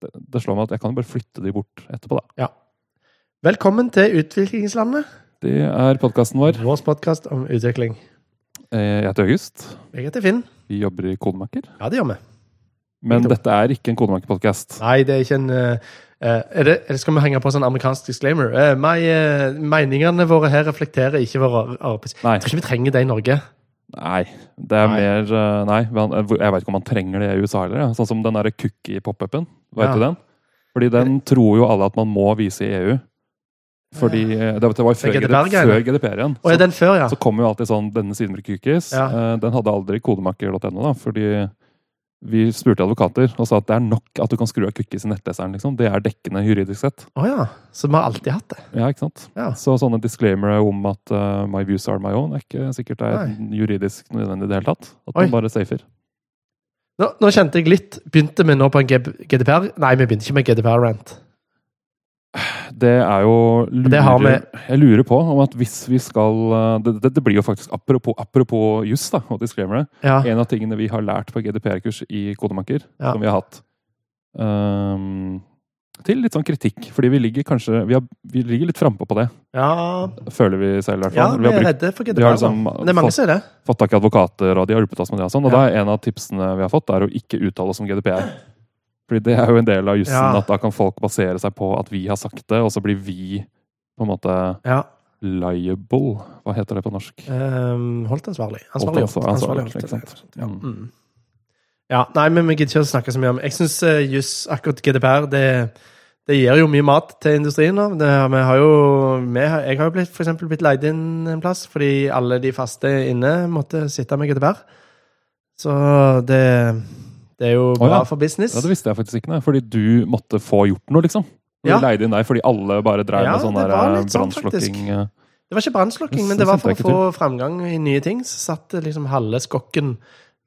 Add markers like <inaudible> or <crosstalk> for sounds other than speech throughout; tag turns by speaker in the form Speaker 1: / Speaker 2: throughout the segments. Speaker 1: det, det slår meg at jeg kan jo bare flytte de bort etterpå, da.
Speaker 2: Velkommen til Utviklingslandet,
Speaker 1: Det er podkasten vår.
Speaker 2: vår podkast om utvikling.
Speaker 1: Eh, Jeg heter August.
Speaker 2: Jeg heter Finn.
Speaker 1: Vi jobber i Kodemaker.
Speaker 2: Ja, det gjør vi.
Speaker 1: Men
Speaker 2: Nettopp.
Speaker 1: dette er ikke en Kodemaker-podkast.
Speaker 2: Nei, det er ikke en eh, eh, er det, er det, Skal vi henge på en sånn amerikansk disclaimer? Eh, my, eh, meningene våre her reflekterer ikke våre arbeids...
Speaker 1: Nei.
Speaker 2: Jeg tror ikke vi trenger det i Norge.
Speaker 1: Nei. Det er
Speaker 2: Nei.
Speaker 1: mer eh, Nei. men Jeg veit ikke om man trenger det i USA heller. ja. Sånn som den derre cookie-pop-upen. Vet
Speaker 2: Ja.
Speaker 1: du den? Fordi den tror jo alle at man må vise i EU. Fordi eh, Det det var jo
Speaker 2: Det
Speaker 1: før,
Speaker 2: er GDPR
Speaker 1: GDPR,
Speaker 2: -greiene.
Speaker 1: før GDPR igjen.
Speaker 2: Og er den før, ja?
Speaker 1: Så kom jo alltid sånn 'denne siden med cookies'.
Speaker 2: Ja.
Speaker 1: Eh, Den hadde aldri kodemaker.no, da, fordi vi spurte advokater og sa at det er nok at du kan skru av cookies i nettleseren. liksom. Det er dekkende juridisk sett.
Speaker 2: Å ja. Så vi har alltid hatt det.
Speaker 1: Ja, ikke sant?
Speaker 2: Ja.
Speaker 1: Så sånne disclaimere om at eh, 'my views are my own' er ikke sikkert det er juridisk nødvendig i det hele tatt. At
Speaker 2: Oi.
Speaker 1: man bare safer.
Speaker 2: Nå, nå kjente jeg litt Begynte vi nå på en G- GDPR? Nei, vi begynte ikke med GDPR-rant.
Speaker 1: Det er jo
Speaker 2: Det har
Speaker 1: lurer, Jeg lurer på om at hvis vi skal eh, Det, det, det blir jo faktisk apropos, apropos juss da, og disclaimere.
Speaker 2: Ja.
Speaker 1: En av tingene vi har lært på GDPR-kurs i Kodemaker,
Speaker 2: Ah. Ja.
Speaker 1: som vi har hatt ehm, til litt sånn kritikk, fordi vi ligger kanskje Vi, har, vi ligger litt frampå på det,
Speaker 2: ja.
Speaker 1: føler vi selv i hvert
Speaker 2: ja,
Speaker 1: fall.
Speaker 2: vi
Speaker 1: vi har
Speaker 2: er
Speaker 1: brukt,
Speaker 2: redde for
Speaker 1: vi har
Speaker 2: GDPR. da.
Speaker 1: liksom
Speaker 2: Men Det er mange
Speaker 1: fått,
Speaker 2: som er det.
Speaker 1: fått tak i advokater, og de har hjulpet oss med det og sånn. Og
Speaker 2: Ja.
Speaker 1: da er en av tipsene vi har fått, er å ikke uttale oss om GDPR. Fordi det er jo en del av jussen,
Speaker 2: Ja.
Speaker 1: at da kan folk basere seg på at vi har sagt det, og så blir vi på en måte
Speaker 2: Ja.
Speaker 1: liable. Hva heter det på norsk?
Speaker 2: ehm, holdt ansvarlig.
Speaker 1: Holdt
Speaker 2: Ansvarlig holdt.
Speaker 1: ansvarlig,
Speaker 2: Ansvarlig holdt.
Speaker 1: ikke sant?
Speaker 2: Ja.
Speaker 1: Mm.
Speaker 2: Mm. ja. Nei, men vi gidder ikke å snakke så mye om Jeg syns juss, akkurat GDPR, det, det gir jo mye mat til industrien nå. Det, vi har jo, vi har, jeg har jo blitt, for eksempel blitt leid inn en plass fordi alle de faste inne måtte sitte med GDPR. Så det, det er jo
Speaker 1: Å,
Speaker 2: bra
Speaker 1: ja.
Speaker 2: for business.
Speaker 1: Ja, Det visste jeg faktisk ikke, nei. fordi du måtte få gjort noe, liksom. Du
Speaker 2: Ja.
Speaker 1: leide inn deg fordi alle bare drev
Speaker 2: Ja,
Speaker 1: med sånn der
Speaker 2: det var litt sånn,
Speaker 1: brannslukking eh,
Speaker 2: Det var ikke brannslukking,
Speaker 1: Det
Speaker 2: men det var for å
Speaker 1: kjente jeg
Speaker 2: få framgang i nye ting. Så satt det liksom halve skokken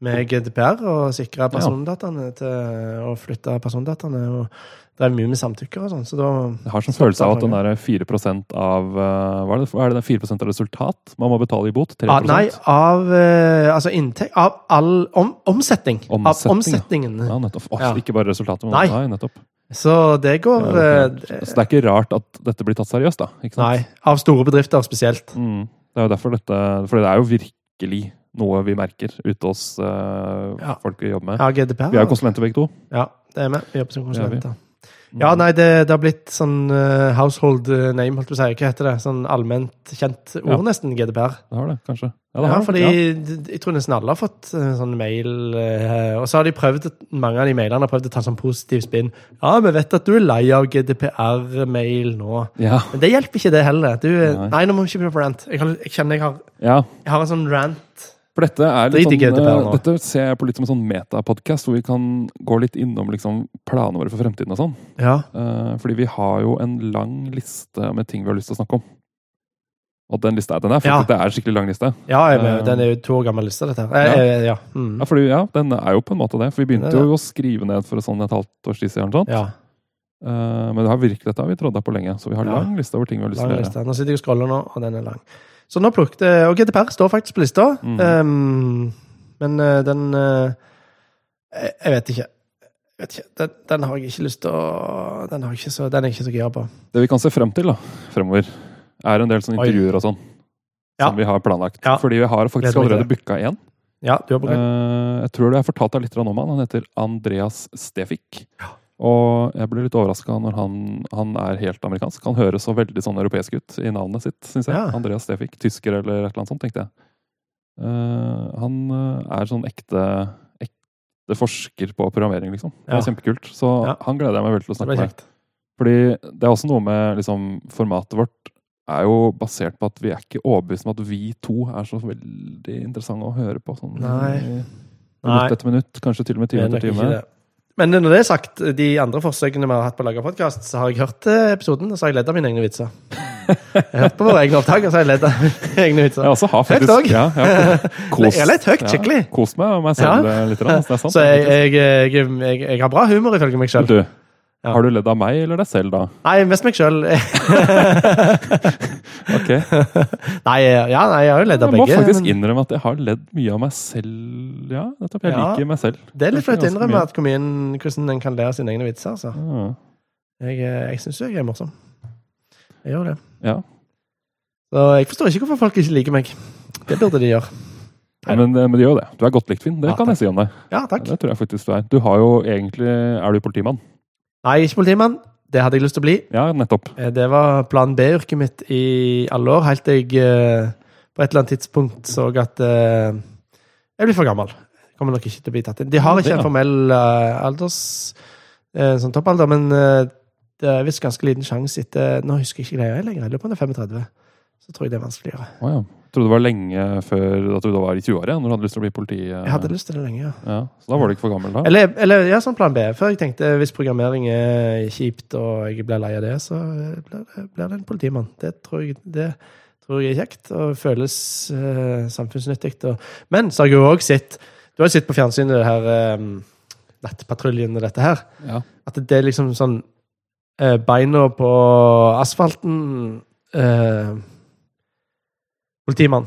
Speaker 2: med GDPR og sikra persondataene til å flytte persondataene. Og drev mye med samtykker og sånn. Så da
Speaker 1: Jeg har sånn
Speaker 2: Stopp
Speaker 1: følelse av at
Speaker 2: der,
Speaker 1: den der 4 av eh, Hva er det? Er det den 4 av resultat man må betale i bot? 3
Speaker 2: ah, Nei, av eh, altså inntekt Av all om, omsetning.
Speaker 1: Omsetning, ja.
Speaker 2: Av omsetningen.
Speaker 1: Ja, nettopp. Åh,
Speaker 2: Ja.
Speaker 1: Ikke bare resultatet, men
Speaker 2: Nei.
Speaker 1: nei, nettopp.
Speaker 2: Så det går
Speaker 1: Ja,
Speaker 2: eh,
Speaker 1: det er- Så det er ikke rart at dette blir tatt seriøst, da? Ikke sant?
Speaker 2: Nei. Av store bedrifter spesielt.
Speaker 1: Mm. Det er jo derfor dette For det er jo virkelig noe vi merker ute hos eh,
Speaker 2: Ja.
Speaker 1: folk vi jobber med.
Speaker 2: Ja, GDPR.
Speaker 1: Vi er jo konsulenter begge to.
Speaker 2: Ja, det er vi. Vi jobber som
Speaker 1: Det er vi. Mm.
Speaker 2: konsulenter. Ja, nei, det, det har blitt sånn eh, household name, holdt på å si. Hva heter det? Sånn allment kjent
Speaker 1: Ja.
Speaker 2: ord, nesten, GDPR.
Speaker 1: Det har det, kanskje. Ja, det
Speaker 2: Ja,
Speaker 1: har det.
Speaker 2: fordi
Speaker 1: Ja.
Speaker 2: d- jeg tror nesten alle har fått eh, sånn mail eh, Og så har de prøvd, mange av de mailene har prøvd å ta sånn positiv spinn. Ja, vi vet at du er lei av GDPR-mail nå.
Speaker 1: Ja.
Speaker 2: Men det hjelper ikke, det heller. Du, eh,
Speaker 1: Nei.
Speaker 2: nei, nå må vi ikke begynne på rant. Jeg, har, jeg kjenner jeg har,
Speaker 1: ja.
Speaker 2: jeg har en sånn rant.
Speaker 1: For dette er litt
Speaker 2: Drit i
Speaker 1: sånn,
Speaker 2: GDPR
Speaker 1: eh,
Speaker 2: nå.
Speaker 1: dette ser jeg på litt som en sånn metapodcast, hvor vi kan gå litt innom liksom, planene våre for fremtiden og sånn.
Speaker 2: Ja.
Speaker 1: Eh, fordi vi har jo en lang liste med ting vi har lyst til å snakke om. Og den lista den er faktisk,
Speaker 2: Ja.
Speaker 1: det er en skikkelig lang liste.
Speaker 2: ja jeg,
Speaker 1: Eh.
Speaker 2: den er jo to år gammel liste, dette her. Eh, eh, ja. Mm.
Speaker 1: Ja, fordi, ja, den er jo på en måte det. For vi begynte
Speaker 2: Det er det.
Speaker 1: jo å skrive ned for sånn et halvt års tid siden. Sånn.
Speaker 2: ja.
Speaker 1: Eh, men det har virkelig, dette har vi trådda på lenge, så vi har
Speaker 2: Ja.
Speaker 1: lang liste over ting vi har lyst til å
Speaker 2: Lang
Speaker 1: gjøre.
Speaker 2: liste. Nå sitter jeg og scroller nå, og den er lang. Så nå plukket jeg Og GDPR står faktisk på lista.
Speaker 1: Mhm.
Speaker 2: Ehm, men eh, den eh, jeg, jeg vet ikke. Jeg vet ikke. Den, den har jeg ikke lyst til å Den, har jeg ikke så, den er jeg ikke så gira på.
Speaker 1: Det vi kan se frem til da, fremover, er en del sånne
Speaker 2: Oi.
Speaker 1: intervjuer og sånn.
Speaker 2: Ja.
Speaker 1: Som vi har planlagt.
Speaker 2: Ja.
Speaker 1: Fordi vi har faktisk
Speaker 2: Gleder meg til
Speaker 1: allerede booka én.
Speaker 2: Ja, du har brukt
Speaker 1: Eh, jeg tror du har fortalt deg litt om han. Han heter Andreas Stefik. Og jeg ble litt overraska når han, han er helt amerikansk. Han høres så veldig sånn europeisk ut i navnet sitt, syns jeg.
Speaker 2: Ja.
Speaker 1: Andreas Stefik. Tysker eller et eller annet sånt, tenkte jeg. Eh, han eh, er sånn ekte, ekte forsker på programmering, liksom. Det
Speaker 2: Ja.
Speaker 1: er kjempekult. Så
Speaker 2: Ja.
Speaker 1: han gleder jeg meg veldig til å
Speaker 2: Det
Speaker 1: snakke
Speaker 2: ble
Speaker 1: med.
Speaker 2: kjekt.
Speaker 1: Fordi det er også noe med liksom, formatet vårt er jo basert på at vi er ikke overbevist om at vi to er så veldig interessante å høre på. Sånn,
Speaker 2: Nei.
Speaker 1: i
Speaker 2: Nei.
Speaker 1: Minutt etter minutt, kanskje til og med time
Speaker 2: Men nok
Speaker 1: etter
Speaker 2: ikke
Speaker 1: time.
Speaker 2: det. Men når det er sagt, de andre forsøkene vi har hatt på å lage podkast, så har jeg hørt eh, episoden, og så har jeg ledd av mine egne vitser. Jeg har hørt på våre egne opptak, og så har jeg ledd av mine egne vitser.
Speaker 1: Jeg også har
Speaker 2: Høyt
Speaker 1: altså, faktisk
Speaker 2: òg.
Speaker 1: ja,
Speaker 2: <laughs>
Speaker 1: jeg har kost,
Speaker 2: Det er litt høyt, skikkelig.
Speaker 1: Ja, kost meg og meg selv eh,
Speaker 2: Ja. <laughs>
Speaker 1: litt. grann, altså, det er sant.
Speaker 2: Så jeg, jeg, jeg, jeg, jeg har bra humor, ifølge meg sjøl.
Speaker 1: du,
Speaker 2: Ja.
Speaker 1: Har du ledd av meg eller deg selv da?
Speaker 2: <laughs> Nei, mest meg sjøl. <laughs>
Speaker 1: Ok.
Speaker 2: nei, ja, nei, jeg har jo ledd av
Speaker 1: Jeg må
Speaker 2: begge.
Speaker 1: faktisk
Speaker 2: men
Speaker 1: innrømme at jeg har ledd mye av meg selv. Ja, nettopp. Jeg
Speaker 2: Ja.
Speaker 1: liker meg selv.
Speaker 2: Det er litt flaut å
Speaker 1: Ganske
Speaker 2: innrømme
Speaker 1: mye.
Speaker 2: at hvor mye- hvordan en kan le av sine egne vitser. Altså.
Speaker 1: Ja.
Speaker 2: Jeg, eh, jeg syns jo jeg er morsom. Jeg gjør det.
Speaker 1: Ja.
Speaker 2: Så jeg forstår ikke hvorfor folk ikke liker meg. Det burde de gjøre.
Speaker 1: Ja, Men, men det gjør jo det. Du er godt likt, Finn. Det
Speaker 2: Ja,
Speaker 1: kan jeg si om deg.
Speaker 2: Ja, takk.
Speaker 1: Det tror jeg faktisk du er. Du har jo egentlig Er du politimann?
Speaker 2: Nei, jeg er ikke politimann. Det hadde jeg lyst til å bli.
Speaker 1: Ja, nettopp.
Speaker 2: Eh, Det var plan B-yrket mitt i alle år, helt til jeg eh, på et eller annet tidspunkt så at eh, jeg blir for gammel. Kommer nok ikke til å bli tatt inn. De har
Speaker 1: Ja, det,
Speaker 2: ikke
Speaker 1: ja.
Speaker 2: en formell eh, alders eh, sånn toppalder, men eh, det er visst ganske liten sjanse etter Nå husker jeg ikke greia lenger. Jeg lurer på om det er 35. Så tror jeg det er vanskeligere.
Speaker 1: Å ja. Jeg trodde det var lenge før at du da var i 20-åra, når du hadde lyst til å bli politi. eh,
Speaker 2: Jeg hadde lyst til det lenge, ja.
Speaker 1: Ja, så da var du ikke for gammel da?
Speaker 2: Eller, eller ja, sånn plan B. Før jeg tenkte hvis programmering er kjipt og jeg blir lei av det, så blir det- blir det en politimann. Det tror jeg, det tror jeg er kjekt og føles eh, samfunnsnyttig. Og, men så har jeg jo òg sett Du har jo sett på fjernsynet det her eh, Nettpatruljen og dette her.
Speaker 1: Ja.
Speaker 2: At det er liksom sånn eh, Beina på asfalten eh, Politimann.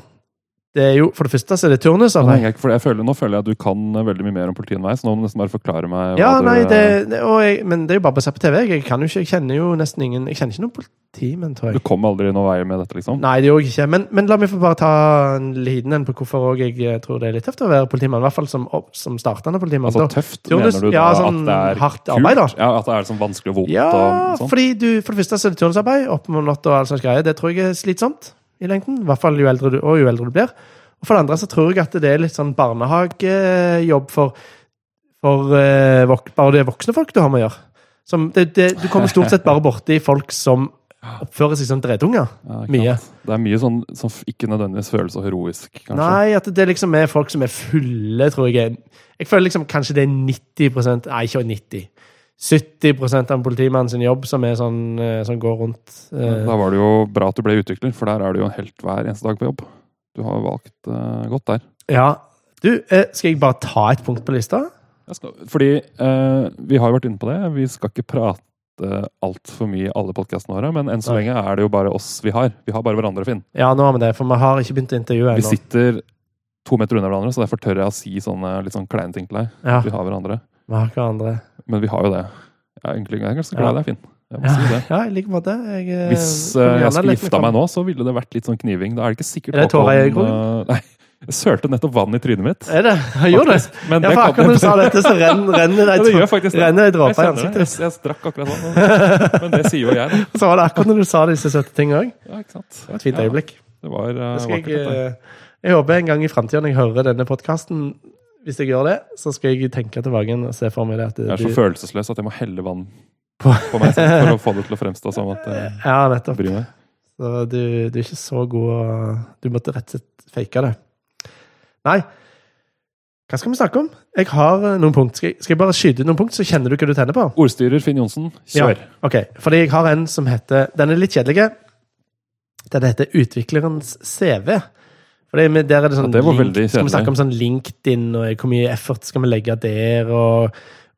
Speaker 2: Det er jo, For det første så er det
Speaker 1: Nå
Speaker 2: turnusarbeid.
Speaker 1: henger jeg ikke- for jeg føler, nå føler jeg at du kan eh, veldig mye mer om politi enn meg, så nå må du nesten bare forklare meg
Speaker 2: Ja,
Speaker 1: hva
Speaker 2: nei,
Speaker 1: du,
Speaker 2: det, det, og jeg, men det er jo bare basert på TV. Jeg, jeg kan jo ikke, jeg kjenner jo nesten ingen Jeg kjenner ikke noen politimenn, tror
Speaker 1: Du <laughs>
Speaker 2: jeg.
Speaker 1: kom aldri noen vei med dette, liksom?
Speaker 2: Nei, det gjorde jeg ikke. Men, men la meg få bare ta en liten en på hvorfor også jeg eh, tror det er litt tøft å være politimann. I hvert fall som, opp- som startende politimann.
Speaker 1: Altså
Speaker 2: Da-
Speaker 1: tøft,
Speaker 2: Turnus-
Speaker 1: mener du da
Speaker 2: ja, sånn
Speaker 1: at det er
Speaker 2: hardt arbeid, da.
Speaker 1: Ja, at det er sånn vanskelig og vondt
Speaker 2: ja,
Speaker 1: og sånn?
Speaker 2: fordi du, for det første så er det turnusarbeid, opp mot natt og all slags greier. Det tror jeg er slitsomt i lengden. I hvert fall jo eldre du, og jo eldre du blir. Og for det andre så tror jeg at det er litt sånn barnehagejobb for, for eh, vok bare det er voksne folk du har med å gjøre. Som, det, det, du kommer stort sett bare borti folk som oppfører seg som dredunger.
Speaker 1: Ja, ikke
Speaker 2: mye.
Speaker 1: sant. Det er mye sånn som f- ikke nødvendigvis føles så heroisk, kanskje.
Speaker 2: Nei, at det liksom er folk som er fulle, tror jeg. Jeg føler liksom kanskje det er 90 Nei, ikke 90. 70 av politimannen sin jobb som er sånn, eh, som går rundt. eh,
Speaker 1: Da var det jo bra at du ble utvikler, for der er du jo en helt hver eneste dag på jobb. Du har valgt eh, godt der.
Speaker 2: Ja. Du, eh, skal jeg bare ta et punkt på lista?
Speaker 1: Jeg skal, fordi eh, vi har jo vært inne på det, vi skal ikke prate altfor mye i alle podkastene våre, men enn så
Speaker 2: Nei.
Speaker 1: lenge er det jo bare oss vi har. Vi har bare hverandre, Finn.
Speaker 2: Ja, nå har vi det, for vi har ikke begynt å intervjue
Speaker 1: Vi
Speaker 2: ennå.
Speaker 1: sitter to meter unna hverandre, så derfor tør jeg å si sånne litt sånn kleine ting til deg.
Speaker 2: Ja,
Speaker 1: Vi har hverandre.
Speaker 2: vi har hverandre.
Speaker 1: Men vi har jo det. Jeg er egentlig jeg er ganske
Speaker 2: Ja.
Speaker 1: glad i deg, Finn. Jeg må
Speaker 2: Ja,
Speaker 1: si det.
Speaker 2: ja i like måte. Jeg, eh,
Speaker 1: Hvis eh,
Speaker 2: kunne gjerne
Speaker 1: jeg skulle
Speaker 2: lett
Speaker 1: gifta
Speaker 2: fram.
Speaker 1: meg nå, så ville det vært litt sånn kniving. Da er det ikke sikkert
Speaker 2: Er det tårer i
Speaker 1: eh, <laughs> Nei. Jeg sølte nettopp vann i trynet mitt.
Speaker 2: Er det? <laughs> Jeg gjorde det.
Speaker 1: Men
Speaker 2: Ja,
Speaker 1: det
Speaker 2: for
Speaker 1: kan
Speaker 2: akkurat
Speaker 1: jeg-
Speaker 2: når du sa dette, så renner,
Speaker 1: <laughs>
Speaker 2: renner
Speaker 1: Ja,
Speaker 2: det
Speaker 1: det
Speaker 2: ei
Speaker 1: gjør faktisk det.
Speaker 2: renner det ei
Speaker 1: Jeg
Speaker 2: dråpe i
Speaker 1: kjenner det.
Speaker 2: ansiktet.
Speaker 1: Jeg, jeg strakk akkurat sånn. Men det sier jo jeg, da.
Speaker 2: Så var det akkurat når du sa disse søte tingene òg.
Speaker 1: Ja, ikke sant?
Speaker 2: Et fint
Speaker 1: Ja,
Speaker 2: øyeblikk.
Speaker 1: Det var eh,
Speaker 2: Det skal
Speaker 1: vakkert.
Speaker 2: jeg,
Speaker 1: dette.
Speaker 2: eh, jeg håper en gang i framtida når jeg hører denne podkasten, hvis jeg gjør det, så skal jeg tenke tilbake igjen og se for meg det at
Speaker 1: Jeg er så
Speaker 2: du
Speaker 1: følelsesløs at jeg må helle vann på, meg selv for å
Speaker 2: <laughs>
Speaker 1: få det til å fremstå som at eh,
Speaker 2: Ja, nettopp.
Speaker 1: jeg bryr meg.
Speaker 2: Så du, du er ikke så god å Du måtte rett og slett fake det. Nei. Hva skal vi snakke om? Jeg har eh, noen punkt. Skal jeg, skal jeg bare skyte ut noen punkt, så kjenner du hva du tenner på?
Speaker 1: Ordstyrer Finn Johnsen, kjør!
Speaker 2: Ja, ok, fordi jeg har en som heter Den er litt kjedelig. Den heter Utviklerens CV. Fordi med- der er det sånn
Speaker 1: Ja, det var
Speaker 2: link-
Speaker 1: veldig
Speaker 2: Skal vi
Speaker 1: kjedelig.
Speaker 2: snakke om sånn LinkedIn og hvor mye effort skal vi legge der? Og,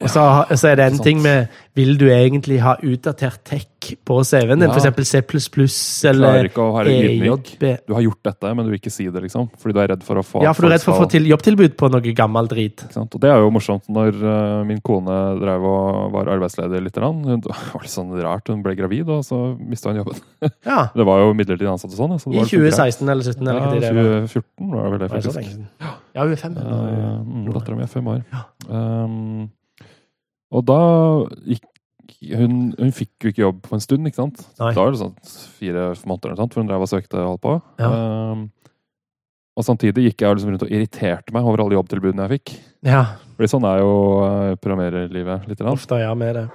Speaker 2: og så, så er det en
Speaker 1: sant.
Speaker 2: ting med Vil du egentlig ha utdatert tech på CV-en din?
Speaker 1: Ja.
Speaker 2: For eksempel C++
Speaker 1: Klarer
Speaker 2: eller E
Speaker 1: ikke å
Speaker 2: Eh,
Speaker 1: være ydmyk.
Speaker 2: EJB?
Speaker 1: Du har gjort dette, men du vil ikke si det, liksom. Fordi du er redd for å få
Speaker 2: Ja, for du er redd for å få
Speaker 1: skal-
Speaker 2: til jobbtilbud på noe gammel drit.
Speaker 1: Ikke sant? Og det er jo morsomt når eh, min kone drev og var arbeidsledig litt. grann. Hun <laughs> det var litt sånn rart, hun ble gravid, og så mista hun jobben.
Speaker 2: Ja,
Speaker 1: Det var jo midlertidig ansatt og sånn. Så det
Speaker 2: I
Speaker 1: var litt greit.
Speaker 2: 2016 eller 2017 eller
Speaker 1: Ja,
Speaker 2: hva det var.
Speaker 1: 2014 var det vel det,
Speaker 2: Var det så
Speaker 1: faktisk.
Speaker 2: lenge siden? Eh, Ja, hun er fem.
Speaker 1: Uh,
Speaker 2: Gjorde
Speaker 1: Dattera mi er fem år.
Speaker 2: Ja.
Speaker 1: Ehm, og da gikk hun, hun fikk jo ikke jobb på en stund, ikke sant?
Speaker 2: Nei.
Speaker 1: Da var det sånn fire måneder, eller noe sånt, for hun drev og søkte og holdt på.
Speaker 2: Ja.
Speaker 1: Ehm, og samtidig gikk jeg liksom rundt og irriterte meg over alle jobbtilbudene jeg fikk.
Speaker 2: Ja,
Speaker 1: Fordi sånn er jo eh, programmererlivet litt. Grann.
Speaker 2: ofte gjør vi det.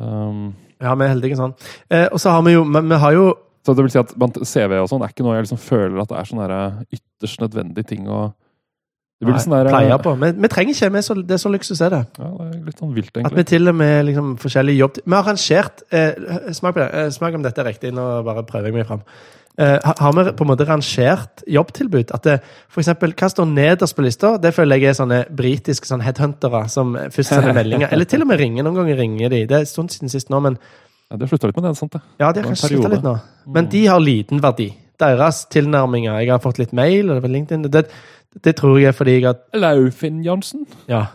Speaker 1: Ehm,
Speaker 2: Ja, vi er heldige sånn. Eh, og så har vi jo Men vi har jo
Speaker 1: så det vil eh, si at blant CV og sånn er ikke noe jeg liksom føler at det er sånn derre ytterst nødvendig ting å Det blir
Speaker 2: Nei,
Speaker 1: sånn der,
Speaker 2: pleier på. Men vi trenger ikke, vi er så, det er så luksus er det.
Speaker 1: Ja, det er litt sånn vilt,
Speaker 2: At vi
Speaker 1: egentlig.
Speaker 2: til og med liksom forskjellige jobb... Vi har rangert eh, Smak på det. Eh, smak om dette er riktig. Nå bare prøver jeg meg fram. Eh, ha- har vi på en måte rangert jobbtilbud? At det, for eksempel, Hva står nederst på lista? Det føler jeg er sånne britiske sånn headhuntere som først sender <laughs> meldinger. Eller til og med ringer. Noen ganger ringer de. Det er en stund siden sist nå, men
Speaker 1: Ja, det slutta litt med det, sant det.
Speaker 2: ja, de
Speaker 1: Det
Speaker 2: har
Speaker 1: var en
Speaker 2: kanskje slutta
Speaker 1: periode.
Speaker 2: litt nå. Men de har liten verdi. Deres tilnærminger Jeg har fått litt mail og det var LinkedIn. Det, det tror jeg er fordi jeg har
Speaker 1: Hello, Finn Jansen.
Speaker 2: Ja.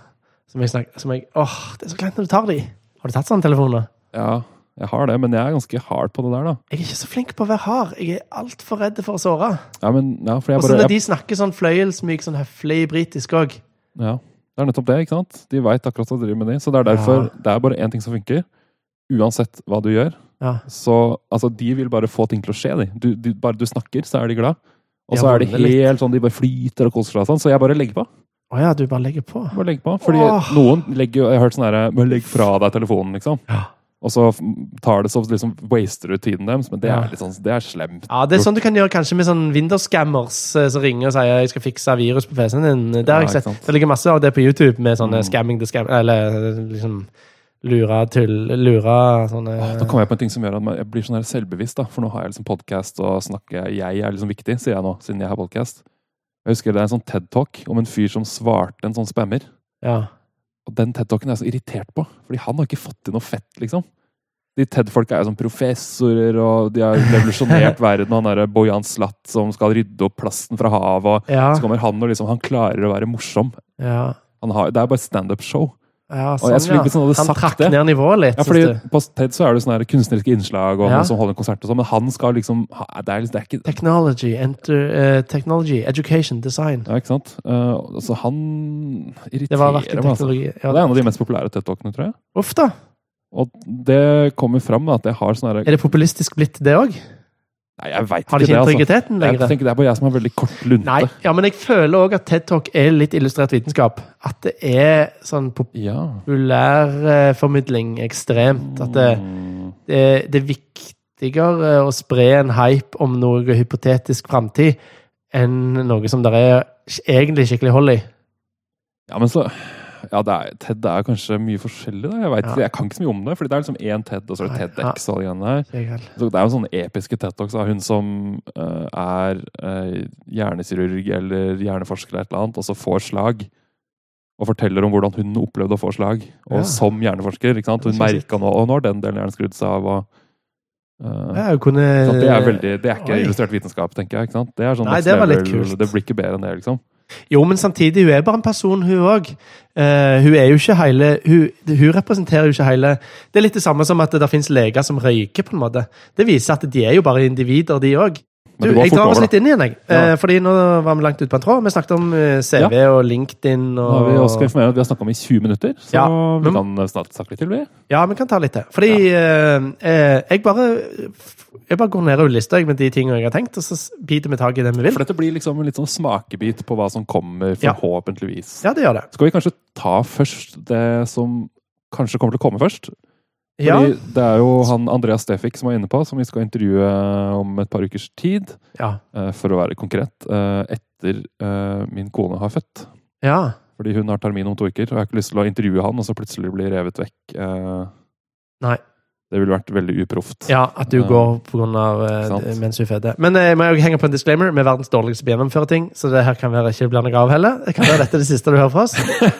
Speaker 2: Som jeg snakker som jeg, Åh, det er så kleint når du tar de. Har du tatt sånne telefoner?
Speaker 1: Ja, jeg har det, men jeg er ganske hard på det der, da.
Speaker 2: Jeg er ikke så flink på å være hard. Jeg er altfor redd for å såre.
Speaker 1: Ja, men, ja, for jeg
Speaker 2: Og så
Speaker 1: bare, jeg,
Speaker 2: når de snakker sånn fløyelsmyk, sånn høflig britisk òg.
Speaker 1: ja, det er nettopp det, ikke sant? De veit akkurat hva de driver med, de. Så det er derfor det er bare én ting som funker. Uansett hva du gjør.
Speaker 2: Ja.
Speaker 1: Så altså, de vil bare få ting til å skje, de. Du, du, bare du snakker, så er de glad. Og
Speaker 2: Ja,
Speaker 1: så er det
Speaker 2: vanlig.
Speaker 1: helt sånn, de bare flyter og koser seg og sånn. Så jeg bare legger på.
Speaker 2: Å ja, du bare legger på.
Speaker 1: Bare legger på. Fordi
Speaker 2: Åh.
Speaker 1: noen legger jo Jeg har hørt sånn herre Bare legg fra deg telefonen, liksom.
Speaker 2: Ja.
Speaker 1: Og så tar det så liksom waster du tiden deres, men det
Speaker 2: Ja.
Speaker 1: er litt sånn Det er slemt.
Speaker 2: Ja, Det er sånn du kan gjøre kanskje med sånn Windows-scammers eh, som ringer og sier 'jeg skal fikse virus på PC-en din'. Det, har
Speaker 1: Ja,
Speaker 2: jeg
Speaker 1: ikke
Speaker 2: sett.
Speaker 1: sant. Mm.
Speaker 2: det ligger masse av det på YouTube med sånne scamming the scam... Eller liksom lure tull... Lure sånne
Speaker 1: Da kommer jeg på en ting som gjør at man- jeg blir sånn her selvbevisst. da, For nå har jeg liksom podkast og snakker Jeg er liksom viktig, sier jeg nå, siden jeg har podkast. Jeg husker det er en sånn TED-talk om en fyr som svarte en sånn spammer.
Speaker 2: Ja.
Speaker 1: Og den TED-talken er jeg så irritert på, fordi han har ikke fått til noe fett, liksom. De TED-folka er jo sånn professorer, og de har revolusjonert verden. Og han derre Bojan Slat som skal rydde opp plasten fra havet, og
Speaker 2: Ja.
Speaker 1: så kommer han og liksom Han klarer å være morsom.
Speaker 2: ja.
Speaker 1: Han har, det er bare standup-show.
Speaker 2: Ja,
Speaker 1: Og jeg skulle hvis han
Speaker 2: sånn, ja.
Speaker 1: hadde
Speaker 2: Han
Speaker 1: sagt
Speaker 2: trakk
Speaker 1: det-
Speaker 2: ned nivået litt.
Speaker 1: Ja, fordi
Speaker 2: synes du?
Speaker 1: På TED så er det jo sånne her kunstneriske innslag, og
Speaker 2: Ja.
Speaker 1: noen som holder konsert og sånn, men han skal liksom ha- Det er, det er ikke
Speaker 2: Technology, enter, eh, technology, education, design.
Speaker 1: Ja, ikke sant? Eh, så han
Speaker 2: Det
Speaker 1: irriterer
Speaker 2: var
Speaker 1: meg.
Speaker 2: verken
Speaker 1: Altså.
Speaker 2: teknologi
Speaker 1: Det er
Speaker 2: ja.
Speaker 1: en av de mest populære TED-talkene, tror jeg.
Speaker 2: Uff, da!
Speaker 1: Og det kommer fram da, at jeg har sånn herre
Speaker 2: Er det populistisk blitt, det òg?
Speaker 1: Nei, jeg veit ikke
Speaker 2: Har de
Speaker 1: det,
Speaker 2: ikke
Speaker 1: altså.
Speaker 2: integriteten
Speaker 1: Jeg
Speaker 2: lenger?
Speaker 1: tenker det er bare jeg som har veldig kort lunte.
Speaker 2: Nei. Ja, men jeg føler òg at TED Talk er litt illustrert vitenskap. At det er sånn
Speaker 1: Ja.
Speaker 2: populærformidling ekstremt. At det,
Speaker 1: Mm.
Speaker 2: det, det er viktigere eh, å spre en hype om noe hypotetisk framtid enn noe som der er egentlig skikkelig hold i.
Speaker 1: Ja, men så ja, det er, TED er kanskje mye forskjellig, da. Jeg vet
Speaker 2: Ja.
Speaker 1: ikke, jeg kan ikke så mye om det. fordi det er liksom én TED, og så er det
Speaker 2: Nei,
Speaker 1: TEDX og alle greiene der.
Speaker 2: Jeg heller.
Speaker 1: Så det er jo sånne episke TED-talks av hun som eh, er eh, hjernekirurg eller hjerneforsker eller et eller annet, og så får slag. Og forteller om hvordan hun opplevde å få slag, og
Speaker 2: Ja.
Speaker 1: som hjerneforsker. ikke sant?
Speaker 2: Det er
Speaker 1: Hun
Speaker 2: så sykt.
Speaker 1: merka nå og nå har den delen av hjernen skrudd seg av. og... eh,
Speaker 2: Ja, jeg kunne
Speaker 1: så det, er veldig, det er ikke
Speaker 2: Oi.
Speaker 1: illustrert vitenskap, tenker jeg. ikke sant? Det er sånn
Speaker 2: Nei,
Speaker 1: next
Speaker 2: det var litt
Speaker 1: level,
Speaker 2: kult.
Speaker 1: det blir ikke bedre enn det, liksom.
Speaker 2: Jo, men samtidig, hun er bare en person, hun òg. hun er jo ikke hele hun, hun representerer jo ikke hele Det er litt det samme som at det fins leger som røyker, på en måte. Det viser at de er jo bare individer, de òg.
Speaker 1: Men
Speaker 2: Du,
Speaker 1: det går
Speaker 2: jeg
Speaker 1: fort
Speaker 2: drar oss
Speaker 1: over,
Speaker 2: litt
Speaker 1: da.
Speaker 2: inn igjen, jeg.
Speaker 1: Ja.
Speaker 2: Eh, fordi nå var vi langt ute på en tråd. Vi snakket om eh, CV og LinkedIn
Speaker 1: Nå har vi også
Speaker 2: og
Speaker 1: informert at vi har snakka om i 20 minutter, så
Speaker 2: Ja,
Speaker 1: vi
Speaker 2: men-
Speaker 1: kan snart snakke litt til, vi.
Speaker 2: Ja, vi kan ta litt til. Fordi eh, eh, jeg bare jeg bare går ned og lister jeg, med de tingene jeg har tenkt, og så s- biter vi tak i det vi vil.
Speaker 1: For dette blir liksom en litt sånn smakebit på hva som kommer,
Speaker 2: Ja.
Speaker 1: forhåpentligvis.
Speaker 2: Ja, det gjør det.
Speaker 1: Skal vi kanskje ta først det som kanskje kommer til å komme først?
Speaker 2: Ja,
Speaker 1: Fordi det er jo han Andreas Stefik som er inne på, som vi skal intervjue om et par ukers tid,
Speaker 2: ja.
Speaker 1: eh, for å være konkret, eh, etter eh, min kone har født.
Speaker 2: ja.
Speaker 1: Fordi hun har termin om to uker, og jeg har ikke lyst til å intervjue han, og så plutselig bli revet vekk. eh,
Speaker 2: Nei.
Speaker 1: Det ville vært veldig uproft.
Speaker 2: Ja, at du
Speaker 1: Eh,
Speaker 2: går på grunn av eh,
Speaker 1: sant.
Speaker 2: det- mens hun føder. Men eh, jeg må jo henge på en disclaimer. Vi er verdens dårligste på å gjennomføre ting, så det her kan være ikke blir noe av heller. Det kan være dette er det siste du hører fra oss.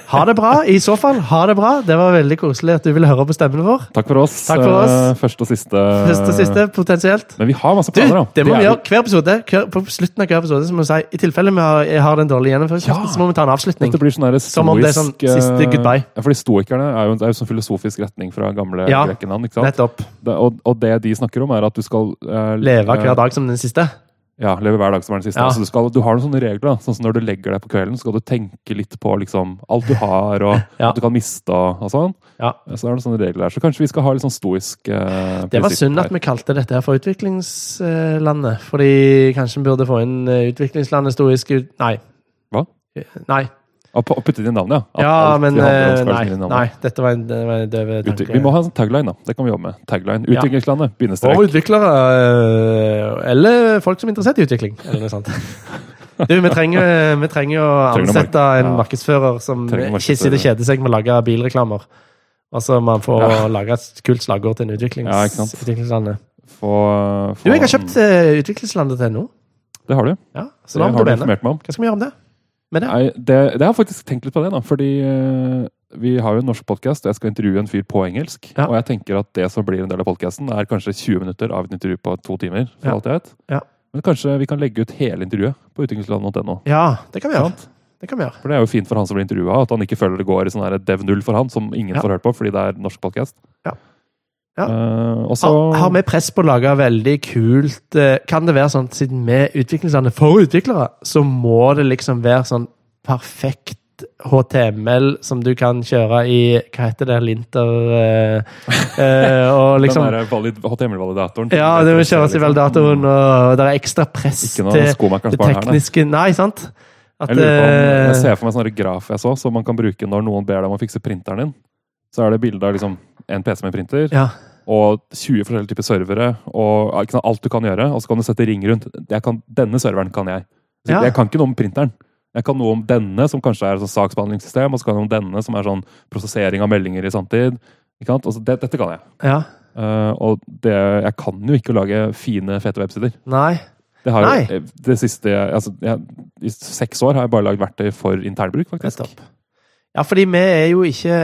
Speaker 2: Ha det bra. I så fall, ha det bra. Det var veldig koselig at du ville høre på stemmen vår.
Speaker 1: Takk for oss.
Speaker 2: Takk for oss.
Speaker 1: eh, Første og siste.
Speaker 2: <laughs> Første og siste, potensielt.
Speaker 1: Men vi har masse
Speaker 2: Du,
Speaker 1: planer, da.
Speaker 2: det må
Speaker 1: er
Speaker 2: vi
Speaker 1: jo-
Speaker 2: gjøre hver episode. Hver, på slutten av hver episode så må vi si i tilfelle vi har, jeg har den dårlige gjennomføringskraften,
Speaker 1: Ja.
Speaker 2: så må vi ta en avslutning.
Speaker 1: Dette blir sånn der
Speaker 2: Som om det er sånn
Speaker 1: stoisk, eh,
Speaker 2: siste goodbye.
Speaker 1: Ja, fordi Stoikerne er jo, det er jo sånn filosofisk retning fra gamle
Speaker 2: Ja.
Speaker 1: Grekenland. ikke sant?
Speaker 2: Nettopp.
Speaker 1: Det, og, og det de snakker om, er at du skal eh,
Speaker 2: Leve
Speaker 1: eh,
Speaker 2: hver dag som den siste.
Speaker 1: Ja, leve hver dag som er den siste.
Speaker 2: Ja.
Speaker 1: Så du, skal, du har noen sånne regler. da, sånn som Når du legger deg på kvelden, så skal du tenke litt på liksom, alt du har, og
Speaker 2: <laughs> Ja.
Speaker 1: at du kan miste og, og sånn.
Speaker 2: Ja.
Speaker 1: Så er det sånne regler der. Så kanskje vi skal ha litt sånn stoisk eh,
Speaker 2: Det var
Speaker 1: prinsipp
Speaker 2: synd
Speaker 1: her.
Speaker 2: at vi kalte dette her for utviklingslandet. Fordi kanskje vi burde få inn eh, utviklingslandet stoisk ut... Nei. Eh,
Speaker 1: Hva?
Speaker 2: Nei.
Speaker 1: Og på- og putte inn navnet, ja. At
Speaker 2: Ja,
Speaker 1: alt
Speaker 2: men
Speaker 1: vi handler om
Speaker 2: eh,
Speaker 1: skal
Speaker 2: nei,
Speaker 1: være sånn i navnet.
Speaker 2: nei. Dette var en, det var en døv
Speaker 1: Ut,
Speaker 2: tanke.
Speaker 1: vi må ha en sånn tagline, da. Det kan vi jobbe med. Tagline.
Speaker 2: Ja.
Speaker 1: Utviklingslander.
Speaker 2: Og
Speaker 1: Bindestrek.
Speaker 2: utviklere. eh, Eller folk som er interessert i utvikling. Eller noe sånt. Du, vi trenger, vi trenger å
Speaker 1: Trenger noen
Speaker 2: ansette
Speaker 1: mark-
Speaker 2: en
Speaker 1: ja.
Speaker 2: markedsfører som
Speaker 1: Trenger noen
Speaker 2: ikke sitter og kjeder seg med å lage bilreklamer. Altså, man får
Speaker 1: Ja.
Speaker 2: lage et kult slagord til en utviklings,
Speaker 1: Ja, ikke sant.
Speaker 2: utviklingslandet.
Speaker 1: Få,
Speaker 2: Du, jeg har kjøpt eh, utviklingslandet til nå.
Speaker 1: Det har du.
Speaker 2: Ja,
Speaker 1: Det
Speaker 2: så nå har
Speaker 1: Eh, har du
Speaker 2: vi det med.
Speaker 1: informert meg om.
Speaker 2: Hva skal vi gjøre om det? Med det?
Speaker 1: Nei, det, det har jeg faktisk tenkt litt på det, da. Fordi eh, vi har jo en norsk podkast, og jeg skal intervjue en fyr på engelsk.
Speaker 2: Ja.
Speaker 1: Og jeg tenker at det som blir en del av podkasten, er kanskje 20 minutter av et intervju på to timer. for
Speaker 2: Ja.
Speaker 1: alt jeg vet.
Speaker 2: Ja.
Speaker 1: Men kanskje vi kan legge ut hele intervjuet på utviklingsland.no.
Speaker 2: Ja, det kan vi gjøre. Det kan vi gjøre.
Speaker 1: For det er jo fint for han som blir intervjua, at han ikke føler det går i sånn her dev null for han, som ingen
Speaker 2: Ja.
Speaker 1: får hørt på fordi det er norsk podkast.
Speaker 2: Ja. Ja.
Speaker 1: og så
Speaker 2: Har, har vi press på å lage veldig kult eh, Kan det være sånn at siden vi er utviklingslandet for utviklere, så må det liksom være sånn perfekt HTML som du kan kjøre i Hva heter det? Linter eh, eh, Og liksom
Speaker 1: <laughs> den der eh, valid, HTML-validatoren
Speaker 2: Ja, det må kjøres i veldatoen, og det er ekstra press
Speaker 1: liksom. Mm. Ikke
Speaker 2: til
Speaker 1: noe
Speaker 2: det
Speaker 1: skomakerens barn her, nei.
Speaker 2: tekniske Nei, sant? At
Speaker 1: Jeg lurer på om, jeg
Speaker 2: eh,
Speaker 1: ser for meg en sånn graf jeg så, som man kan bruke når noen ber deg om å fikse printeren din. Så er det bilde av liksom en PC med printer,
Speaker 2: ja,
Speaker 1: og 20 forskjellige typer servere, og ikke sant, alt du kan gjøre, og så kan du sette ring rundt. Jeg kan, denne serveren kan jeg. Så
Speaker 2: Ja.
Speaker 1: Jeg kan ikke noe om printeren. Jeg kan noe om denne, som kanskje er et sånt saksbehandlingssystem, og så kan jeg noe om denne, som er sånn prosessering av meldinger i sanntid. Ikke sant? Og så det, dette kan jeg.
Speaker 2: ja.
Speaker 1: Eh, og det, jeg kan jo ikke lage fine, fete websider.
Speaker 2: Nei.
Speaker 1: Det, har,
Speaker 2: Nei.
Speaker 1: jo- eh, det siste jeg- altså, jeg, I seks år har jeg bare lagd verktøy for internbruk, faktisk.
Speaker 2: Nettopp. Ja, fordi vi er jo ikke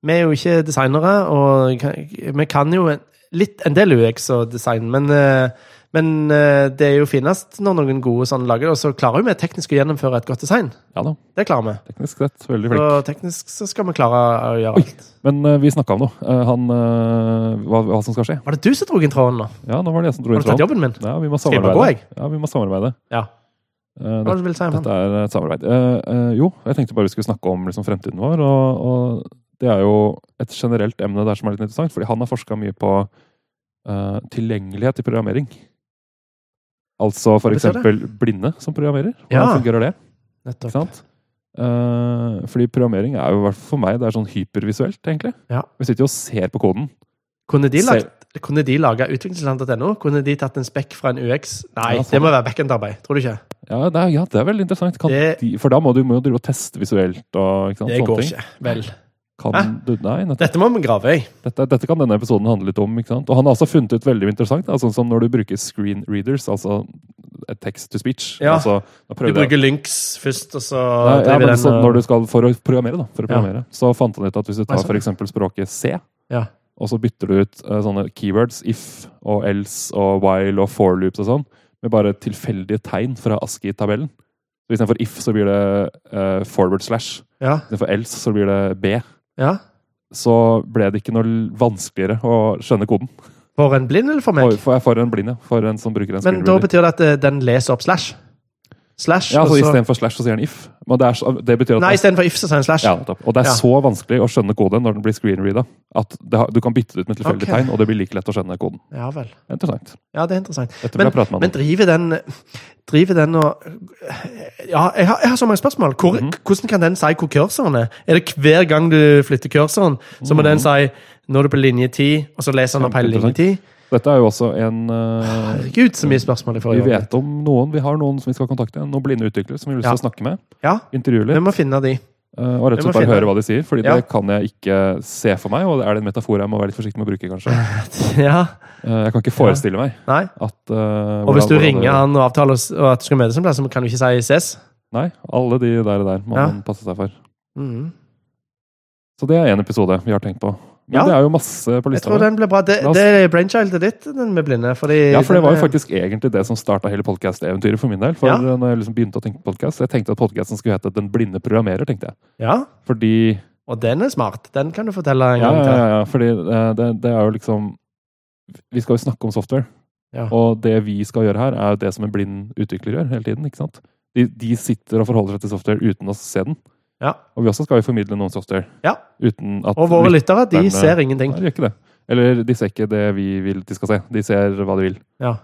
Speaker 2: Vi er jo ikke designere, og kan- vi kan jo en- litt en del UX og design, men eh, men eh, det er jo finest når noen gode sånn lager det, og så klarer jo vi teknisk å gjennomføre et godt design.
Speaker 1: Ja da,
Speaker 2: Det klarer vi.
Speaker 1: teknisk sett. Veldig flink.
Speaker 2: Og teknisk så skal vi klare å gjøre alt.
Speaker 1: Men eh, vi snakka om noe. Eh, han, eh, hva, hva som skal skje.
Speaker 2: Var det du som dro inn tråden nå?
Speaker 1: Ja, nå var det jeg som dro
Speaker 2: Har
Speaker 1: inn
Speaker 2: du tatt
Speaker 1: tråden.
Speaker 2: jobben min?
Speaker 1: Ja, vi må
Speaker 2: jeg bare
Speaker 1: samarbeide.
Speaker 2: gå, jeg?
Speaker 1: Ja, vi må samarbeide.
Speaker 2: Ja.
Speaker 1: Eh,
Speaker 2: Hva var det du ville si om
Speaker 1: Dette
Speaker 2: den?
Speaker 1: er et samarbeid. Eh, eh, jo, jeg tenkte bare vi skulle snakke om liksom, fremtiden vår. Og, og det er jo et generelt emne der som er litt interessant, fordi han har forska mye på eh, tilgjengelighet i programmering. Altså for
Speaker 2: Hva betyr det?
Speaker 1: eksempel blinde som programmerer. Hvordan
Speaker 2: Ja.
Speaker 1: fungerer det? Ikke
Speaker 2: Nettopp.
Speaker 1: sant? Eh, fordi programmering er jo i hvert fall for meg det er sånn hypervisuelt, egentlig.
Speaker 2: Ja.
Speaker 1: Vi sitter jo og ser på koden.
Speaker 2: Kunne de
Speaker 1: Se-
Speaker 2: lagt kunne de lage utviklingsland.no? Kunne de tatt en spekk fra en UX? Nei,
Speaker 1: Ja,
Speaker 2: det må være backend-arbeid. Tror du ikke?
Speaker 1: Ja, det er, ja, det er veldig interessant. Kan
Speaker 2: Det-
Speaker 1: de, for da må du må jo drive og teste visuelt. Og, ikke sant,
Speaker 2: Det
Speaker 1: sånne
Speaker 2: går
Speaker 1: ting.
Speaker 2: ikke. Vel.
Speaker 1: Kan du, nei, nettopp.
Speaker 2: Dette må vi grave i.
Speaker 1: Dette, dette kan denne episoden handle litt om. ikke sant? Og han har også funnet ut veldig interessant, da, sånn som når du bruker screen readers, altså et text to speech.
Speaker 2: Ja.
Speaker 1: Altså, da
Speaker 2: Du
Speaker 1: prøver jeg-
Speaker 2: bruker Lynx først, og så
Speaker 1: Nei, ja,
Speaker 2: driver
Speaker 1: men
Speaker 2: den
Speaker 1: så
Speaker 2: og-
Speaker 1: når du skal For å programmere, da. For å
Speaker 2: Ja.
Speaker 1: programmere, Så fant han ut at hvis du tar
Speaker 2: Nei, sånn, ja.
Speaker 1: f.eks. språket C,
Speaker 2: ja.
Speaker 1: og så bytter du ut eh, sånne keywords, if og else og while og for loops og sånn, med bare tilfeldige tegn fra ASCII-tabellen Så Istedenfor if så blir det eh, forward slash.
Speaker 2: ja,
Speaker 1: Istedenfor else så blir det b.
Speaker 2: ja.
Speaker 1: Så ble det ikke noe l- vanskeligere å skjønne koden.
Speaker 2: For en blind eller for
Speaker 1: For,
Speaker 2: meg?
Speaker 1: for, for en blind, ja. For en som bruker en
Speaker 2: Men
Speaker 1: screen
Speaker 2: da
Speaker 1: reader.
Speaker 2: betyr det at eh, den leser opp slash? Slash?
Speaker 1: Ja, altså
Speaker 2: og så-
Speaker 1: Istedenfor slash så sier han if. Men det, er, så- det betyr at
Speaker 2: Nei, istedenfor if, så sier den slash.
Speaker 1: ja, nettopp. Og det er
Speaker 2: Ja.
Speaker 1: så vanskelig å skjønne koden når den blir screenreada, at det, har- du kan bytte det ut med tilfeldige
Speaker 2: Ok.
Speaker 1: tegn, og det blir like lett å skjønne koden.
Speaker 2: Ja vel.
Speaker 1: Interessant.
Speaker 2: Ja, det er interessant.
Speaker 1: Dette vil
Speaker 2: Men,
Speaker 1: jeg prate med
Speaker 2: men
Speaker 1: ham om.
Speaker 2: driver den Driver den og Ja, jeg har, jeg har så mange spørsmål. Hvor,
Speaker 1: Mhm.
Speaker 2: Hvordan kan den si hvor kursoren er? Er det hver gang du flytter kursoren, så må den
Speaker 1: Mhm.
Speaker 2: si nå er du på linje 10, og så leser den opp hele linje 10?
Speaker 1: Dette er jo også en eh,
Speaker 2: Herregud, så mye spørsmål jeg får.
Speaker 1: Vi
Speaker 2: i år.
Speaker 1: vet om noen. Vi har noen som vi skal kontakte. Noen blinde utviklere som vi har lyst til å
Speaker 2: Ja.
Speaker 1: snakke med.
Speaker 2: Ja,
Speaker 1: Intervjue
Speaker 2: vi
Speaker 1: litt.
Speaker 2: må finne de. <laughs>
Speaker 1: eh, Og rett
Speaker 3: vi må
Speaker 1: og slett bare
Speaker 3: finne-
Speaker 1: høre hva de sier, Fordi
Speaker 2: Ja.
Speaker 1: det kan jeg ikke se for meg. Og er det en metafor jeg må være litt forsiktig med å bruke, kanskje?
Speaker 2: Ja,
Speaker 1: Eh, Jeg kan ikke forestille meg
Speaker 2: nei
Speaker 1: at eh,
Speaker 2: Og hvis
Speaker 1: hvordan-
Speaker 2: du
Speaker 1: hvordan-
Speaker 2: ringer han og avtaler s- og at du skal møtes en plass, så kan du ikke si ses?
Speaker 1: Nei, alle de der og der må
Speaker 2: Ja.
Speaker 1: man passe seg for.
Speaker 2: Mhm.
Speaker 1: Så det er én episode vi har tenkt på. Men
Speaker 2: Ja.
Speaker 1: det er jo masse på
Speaker 2: Jeg
Speaker 1: lista.
Speaker 2: tror
Speaker 1: vår.
Speaker 2: den ble bra. Det,
Speaker 1: La oss-
Speaker 2: det er brainchildet ditt, den med blinde. Fordi
Speaker 1: Ja, for det
Speaker 2: den
Speaker 1: var jo
Speaker 2: er-
Speaker 1: faktisk egentlig det som starta hele podkast-eventyret for min del. For
Speaker 2: eh, Ja.
Speaker 1: eh, når jeg liksom begynte å tenke på podcast, Jeg tenkte at podkasten skulle hete 'Den blinde programmerer'. tenkte jeg.
Speaker 2: Ja,
Speaker 1: Fordi,
Speaker 2: og den er smart. Den kan du fortelle en
Speaker 1: ja,
Speaker 2: gang
Speaker 1: ja,
Speaker 2: til.
Speaker 1: ja, ja, fordi eh, det, det er jo liksom Vi skal jo snakke om software.
Speaker 2: Ja.
Speaker 1: Og det vi skal gjøre her, er jo det som en blind utvikler gjør hele tiden. ikke sant? De, de sitter og forholder seg til software uten å se den.
Speaker 2: Ja.
Speaker 1: Og vi også skal jo formidle noen software.
Speaker 2: Ja.
Speaker 1: Uten at
Speaker 2: Og våre lyttere, de
Speaker 1: lytterne-
Speaker 2: ser ingenting.
Speaker 1: Nei, de gjør ikke det. Eller de ser ikke det vi vil de skal se. De ser hva de vil. <laughs>
Speaker 2: Ja.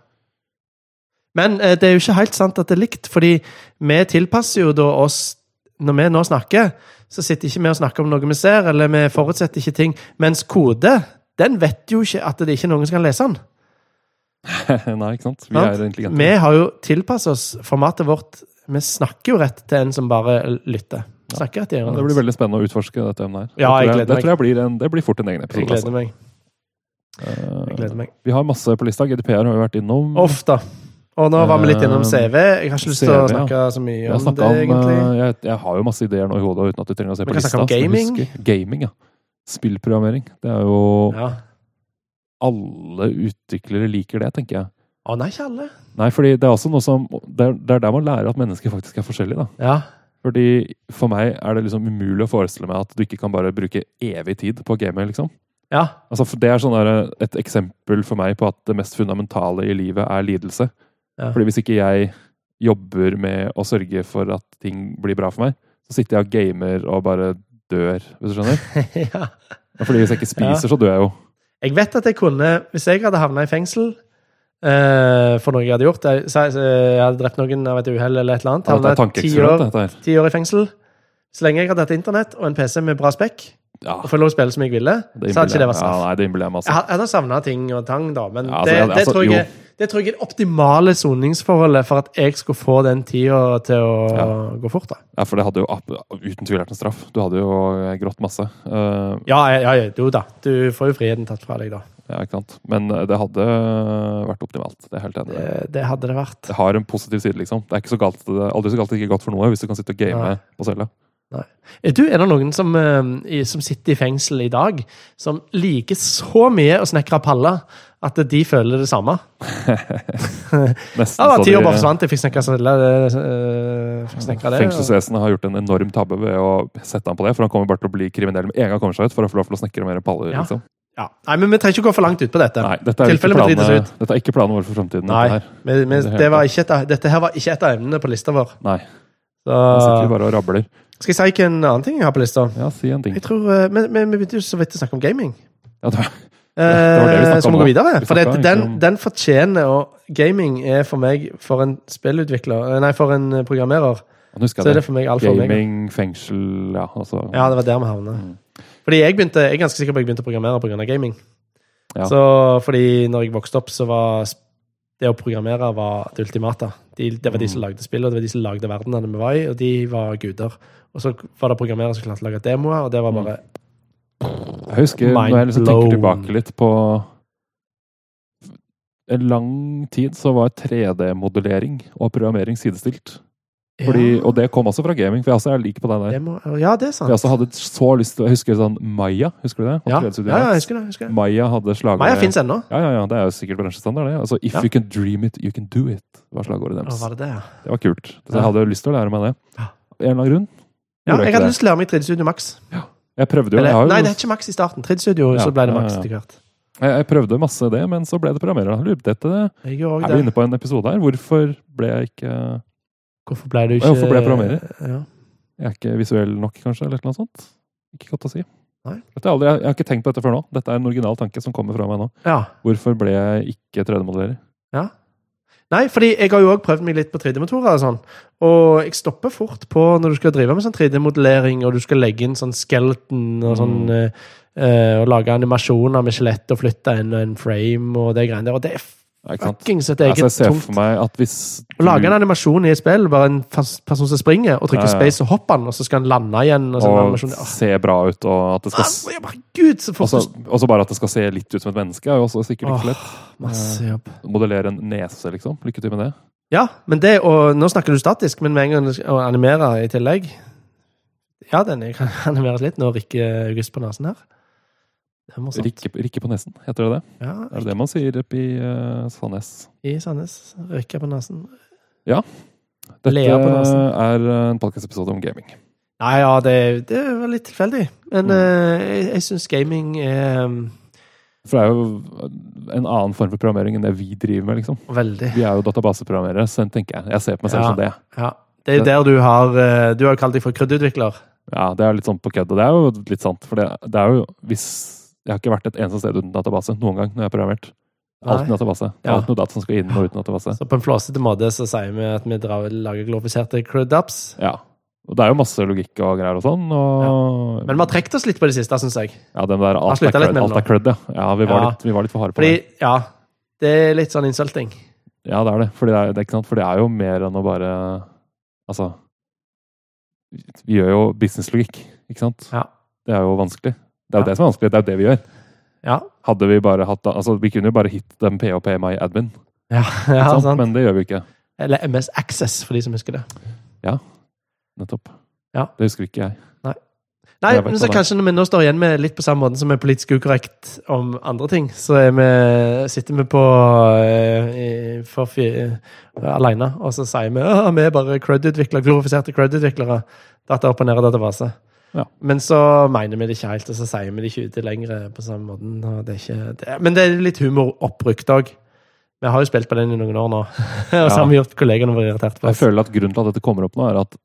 Speaker 2: Men eh, det er jo ikke helt sant at det er likt, fordi vi tilpasser jo da oss Når vi nå snakker, så sitter ikke vi og snakker om noe vi ser, eller vi forutsetter ikke ting. Mens kode, den vet jo ikke at det er ikke noen som kan lese den.
Speaker 1: Nei, ikke sant? Vi
Speaker 2: Sant?
Speaker 1: er intelligente.
Speaker 2: Vi har jo tilpasset oss formatet vårt Vi snakker jo rett til en som bare lytter.
Speaker 1: Ja.
Speaker 2: Snakker rett i
Speaker 1: Ja,
Speaker 2: ørene.
Speaker 1: det blir veldig spennende å utforske dette emnet her.
Speaker 2: Ja,
Speaker 1: Det tror
Speaker 2: jeg gleder
Speaker 1: det tror jeg blir en, det blir fort en egen
Speaker 2: Jeg
Speaker 1: episode.
Speaker 2: gleder meg.
Speaker 1: altså.
Speaker 2: Jeg gleder meg.
Speaker 1: Eh, Vi har masse på lista. GDPR har vi vært innom.
Speaker 2: Uff, da. Og nå var vi litt innom CV. Jeg har ikke lyst til
Speaker 1: CV,
Speaker 2: å
Speaker 1: Eh, ja.
Speaker 2: snakke så mye
Speaker 1: Jeg, har
Speaker 2: om
Speaker 1: snakket
Speaker 2: det,
Speaker 1: om,
Speaker 2: egentlig.
Speaker 1: eh, jeg, jeg har jo masse ideer nå i hodet uten at du trenger å se
Speaker 2: Vi
Speaker 1: på
Speaker 2: kan
Speaker 1: lista.
Speaker 2: snakke om
Speaker 1: så jeg
Speaker 2: gaming.
Speaker 1: husker- gaming, ja. Spillprogrammering. Det er jo
Speaker 2: Ja.
Speaker 1: Alle utviklere liker det, tenker jeg.
Speaker 2: Å nei, ikke alle.
Speaker 1: Nei, fordi det er også noe som Det er, det er der man lærer at mennesker faktisk er forskjellige, da.
Speaker 2: Ja.
Speaker 1: Fordi For meg er det liksom umulig å forestille meg at du ikke kan bare bruke evig tid på å game, liksom.
Speaker 2: Ja.
Speaker 1: Altså, for det er sånn der, et eksempel for meg på at det mest fundamentale i livet er lidelse.
Speaker 2: Ja.
Speaker 1: Fordi hvis ikke jeg jobber med å sørge for at ting blir bra for meg, så sitter jeg og gamer og bare dør, hvis du skjønner.
Speaker 2: <laughs> <laughs> ja.
Speaker 1: Ja, Fordi hvis jeg ikke spiser, så dør jeg jo.
Speaker 2: Jeg vet at jeg kunne Hvis jeg hadde havna i fengsel eh, for noe jeg hadde gjort Jeg, sa- jeg hadde drept noen av et uhell eller et eller annet.
Speaker 1: Ja, dette er
Speaker 2: Havnet ti
Speaker 1: tankeeksperiment,
Speaker 2: år,
Speaker 1: dette her.
Speaker 2: ti år i fengsel. Så lenge jeg hadde hatt internett og en PC med bra spekk,
Speaker 1: Ja,
Speaker 2: og få lov å spille som jeg ville,
Speaker 1: det
Speaker 2: så hadde ikke det vært
Speaker 1: jeg- ja,
Speaker 2: straff.
Speaker 1: nei, det innbiller jeg meg,
Speaker 2: Jeg
Speaker 1: altså.
Speaker 2: had- jeg hadde savna ting og tang, da, men
Speaker 1: Ja, altså,
Speaker 2: det,
Speaker 1: jeg-
Speaker 2: det,
Speaker 1: altså,
Speaker 2: tror jeg,
Speaker 1: jo.
Speaker 2: det tror jeg er det optimale soningsforholdet for at jeg skulle få den tida til å
Speaker 1: Ja.
Speaker 2: gå fort. da.
Speaker 1: Ja, for det hadde jo ab- uten tvil vært en straff. Du hadde jo grått masse. Eh,
Speaker 2: Ja, ja, ja, jo da. Du får jo friheten tatt fra deg, da.
Speaker 1: ja, ikke sant. Men det hadde vært optimalt. Det er jeg helt enig i.
Speaker 2: Det, det hadde det vært.
Speaker 1: det har en positiv side, liksom. Det er ikke så galt, det er aldri så galt det ikke er godt for noe hvis du kan sitte og game
Speaker 2: Nei.
Speaker 1: på cella.
Speaker 2: Er, du, er det noen som, eh, i- som sitter i fengsel i dag, som liker så mye å snekre paller at de føler det samme?
Speaker 1: Nesten
Speaker 2: Ja, det var
Speaker 1: så
Speaker 2: ti
Speaker 1: de-
Speaker 2: år bare forsvant, jeg fikk snekre det. eh, snekre det.
Speaker 1: Fengselsvesenet har gjort en enorm tabbe ved å sette ham på det, for han kommer bare til å bli kriminell med en gang han kommer seg ut, for å få lov til å snekre mer paller.
Speaker 2: Ja.
Speaker 1: Liksom.
Speaker 2: Ja. Nei, men vi trenger ikke gå for langt ut på dette.
Speaker 1: Nei, dette er, ikke
Speaker 2: Tilfellet må drites
Speaker 1: planene, dette er ikke planen vår for fremtiden.
Speaker 2: Nei,
Speaker 1: dette her.
Speaker 2: men, men
Speaker 1: Det er
Speaker 2: det var
Speaker 1: helt-
Speaker 2: ikke et, av- dette her var ikke et av emnene på lista vår.
Speaker 1: Nei, nå sitter vi
Speaker 2: Så,
Speaker 1: bare og rabler.
Speaker 2: skal jeg si en annen ting jeg har på lista?
Speaker 1: Ja, si en ting.
Speaker 2: Jeg tror, eh, Men men vi begynte jo så vidt å snakke om gaming.
Speaker 1: Ja, det var, det var det vi
Speaker 2: Eh,
Speaker 1: snakket
Speaker 2: Så
Speaker 1: om
Speaker 2: må vi
Speaker 1: også.
Speaker 2: gå videre.
Speaker 1: Vi
Speaker 2: For det,
Speaker 1: snakket egentlig
Speaker 2: den,
Speaker 1: om-
Speaker 2: den fortjener å Gaming er for meg, for en spillutvikler eh, Nei, for en programmerer,
Speaker 1: nå husker
Speaker 2: så er
Speaker 1: jeg
Speaker 2: det for meg alfa og omega.
Speaker 1: Gaming, fengsel, ja, altså.
Speaker 2: Ja, det var der vi havna.
Speaker 1: Mm.
Speaker 2: Fordi jeg begynte, jeg er ganske sikker på at jeg begynte å programmere pga. gaming.
Speaker 1: Ja.
Speaker 2: Så fordi når jeg vokste opp, så var sp- det å programmere var det ultimate. De, det var de
Speaker 1: Mm.
Speaker 2: som lagde spill, og det var de som lagde verdenene vi var i, og de var guder. Og så var det programmerere som klarte å lage demoer, og det var bare
Speaker 1: Mm. Jeg husker når jeg liksom
Speaker 2: Mind
Speaker 1: tenker
Speaker 2: blown.
Speaker 1: tilbake litt på En lang tid så var 3D-modellering og programmering sidestilt. Fordi,
Speaker 2: ja,
Speaker 1: Og det kom også fra gaming, for jeg også er lik på den der.
Speaker 2: demoer. ja, det er
Speaker 1: For Jeg også
Speaker 2: sant.
Speaker 1: hadde så lyst til Jeg husker sånn Maya, husker du det? Mm. Og
Speaker 2: Ja, ja,
Speaker 1: 3D-studio
Speaker 2: ja, jeg
Speaker 1: Max.
Speaker 2: husker det. jeg husker det.
Speaker 1: Maya hadde slagordet
Speaker 2: Maja fins ennå.
Speaker 1: Ja, ja, ja, det er jo sikkert bransjestandard, det. Altså If
Speaker 2: Ja.
Speaker 1: you can dream it, you can do it, var slagordet
Speaker 2: Å,
Speaker 1: deres.
Speaker 2: Var det det, ja.
Speaker 1: Det var kult. Så
Speaker 2: Ja.
Speaker 1: jeg hadde jo lyst til å lære meg det.
Speaker 2: Ja.
Speaker 1: En eller annen grunn.
Speaker 2: ja
Speaker 1: gjorde
Speaker 2: jeg
Speaker 1: ikke
Speaker 2: hadde
Speaker 1: det.
Speaker 2: lyst til å lære meg 3D Studio Max.
Speaker 1: Jeg prøvde jo,
Speaker 2: Eller,
Speaker 1: jeg, har jo
Speaker 2: nei, det er ikke Max i starten. 3D Studio,
Speaker 1: Ja,
Speaker 2: så ble det
Speaker 1: ja,
Speaker 2: Max
Speaker 1: ja.
Speaker 2: etter hvert.
Speaker 1: jeg, jeg prøvde masse det, men så ble det programmerer. Jeg lurer på dette, det.
Speaker 2: Jeg gjorde også
Speaker 1: Er vi
Speaker 2: det.
Speaker 1: inne på en episode her? Hvorfor ble jeg ikke Jeg
Speaker 2: Hvorfor ble du ikke
Speaker 1: Hvorfor ble jeg programmerer?
Speaker 2: Ja.
Speaker 1: er ikke visuell nok, kanskje? Eller noe sånt? Ikke godt å si.
Speaker 2: Nei.
Speaker 1: Dette er aldri, jeg, jeg har ikke tenkt på dette før nå. Dette er en original tanke som kommer fra meg nå.
Speaker 2: ja.
Speaker 1: Hvorfor ble jeg ikke 3D-modellerer?
Speaker 2: Nei, fordi jeg har jo òg prøvd meg litt på 3D-motorer. Og sånn. Og jeg stopper fort på når du skal drive med sånn 3D-modellering, og du skal legge inn sånn skeleton og sånn
Speaker 1: Mm.
Speaker 2: eh, eh, Og lage animasjoner med skjelett og flytte en og en frame og det greiene der. Og det er
Speaker 1: Ja, Ikke sant?
Speaker 2: fuckings et
Speaker 1: Altså,
Speaker 2: eget
Speaker 1: jeg ser
Speaker 2: tungt.
Speaker 1: for meg at hvis
Speaker 2: Å lage en animasjon i et spill, bare en fas- person som springer, og
Speaker 1: Ja,
Speaker 2: trykker
Speaker 1: ja.
Speaker 2: space og hopper den, og så skal han lande igjen og sånn
Speaker 1: og
Speaker 2: animasjon Åh,
Speaker 1: se bra ut, og at det skal s-
Speaker 2: altså, jeg bare, Gud, så fort
Speaker 1: også,
Speaker 2: du
Speaker 1: også bare at det skal se litt ut som et menneske, er jo også sikkert ikke så lett.
Speaker 2: Åh, Masse jobb.
Speaker 1: Modellere en nese, liksom. Lykke til med det.
Speaker 2: Ja, men det og Nå snakker du statisk, men med en gang du skal- å animere i tillegg Ja, den er- kan <laughs> animeres litt når Rikke August på nesen her. Det er morsomt.
Speaker 1: Rikke, rikke på nesen, heter det det?
Speaker 2: Ja,
Speaker 1: Er det det man sier oppe i eh, Sandnes?
Speaker 2: I Sandnes. Rikke på nesen.
Speaker 1: Dette
Speaker 2: Lea på nesen.
Speaker 1: er en podkastepisode om gaming.
Speaker 2: Nei, ja, det, det var litt tilfeldig. Men
Speaker 1: Mm.
Speaker 2: eh, jeg, jeg syns gaming er um,
Speaker 1: For det er jo en annen form for programmering enn det vi driver med. liksom.
Speaker 2: veldig
Speaker 1: Vi er jo databaseprogrammerere, så den tenker jeg. Jeg ser på meg selv
Speaker 2: Ja.
Speaker 1: som det.
Speaker 2: Ja. Det er der du har eh, Du har jo kalt deg for krydderutvikler.
Speaker 1: Ja, Det er litt sånn på kødd, og det er jo litt sant. For det, det er jo hvis Jeg har ikke vært et eneste sted uten database noen gang når jeg har programmert. Alt med
Speaker 2: Nei.
Speaker 1: database.
Speaker 2: Ja.
Speaker 1: Alt med data som skal inn og uten database.
Speaker 2: Så på en flåsete måte så sier vi at vi drar, lager glorifiserte crud-ups.
Speaker 1: Ja. Og det er jo masse logikk og greier og sånn. Og
Speaker 2: Men vi har trukket oss litt på det siste, syns jeg.
Speaker 1: ja, den der alt
Speaker 2: sluttet
Speaker 1: er
Speaker 2: litt
Speaker 1: crud,
Speaker 2: med
Speaker 1: alt
Speaker 2: den
Speaker 1: er crud, ja. ja vi, var
Speaker 2: Ja.
Speaker 1: Litt, vi var litt for harde på
Speaker 2: Fordi,
Speaker 1: det.
Speaker 2: ja, det er litt sånn insulting.
Speaker 1: Ja, det er det. Fordi det er, det er ikke sant? For det er jo mer enn å bare Altså Vi gjør jo businesslogikk, ikke sant?
Speaker 2: Ja.
Speaker 1: Det er jo vanskelig. Det er jo
Speaker 2: Ja.
Speaker 1: det som er vanskelig. Det er jo det vi gjør.
Speaker 2: Ja.
Speaker 1: Hadde vi bare hatt da- Altså, vi kunne jo bare hit dem P og PMI admin, ikke
Speaker 2: Ja, ja
Speaker 1: sant?
Speaker 2: sant.
Speaker 1: men det gjør vi ikke.
Speaker 2: Eller MS Access, for de som husker det.
Speaker 1: Nettopp.
Speaker 2: Ja.
Speaker 1: Det husker ikke jeg.
Speaker 2: Nei,
Speaker 1: Jeg vet
Speaker 2: men
Speaker 1: hva
Speaker 2: så
Speaker 1: det er.
Speaker 2: kanskje når vi nå står igjen med litt på samme måten som er politisk ukorrekt om andre ting, så er vi, sitter vi på eh, i- for fi, alene, og så sier vi at vi er bare CRUD-utviklere, glorifiserte CRUD-utviklere. Data opp og ned og database.
Speaker 1: Ja.
Speaker 2: Men så mener vi det ikke helt, og så sier vi det ikke ute lenger på samme måten. Og det er ikke, det, men det er litt humor oppbrukt òg. Vi har jo spilt på den i noen år nå, <laughs> og så har vi gjort kollegene våre irritert på
Speaker 1: Jeg
Speaker 2: oss.
Speaker 1: føler at grunnen til at dette kommer opp nå, er at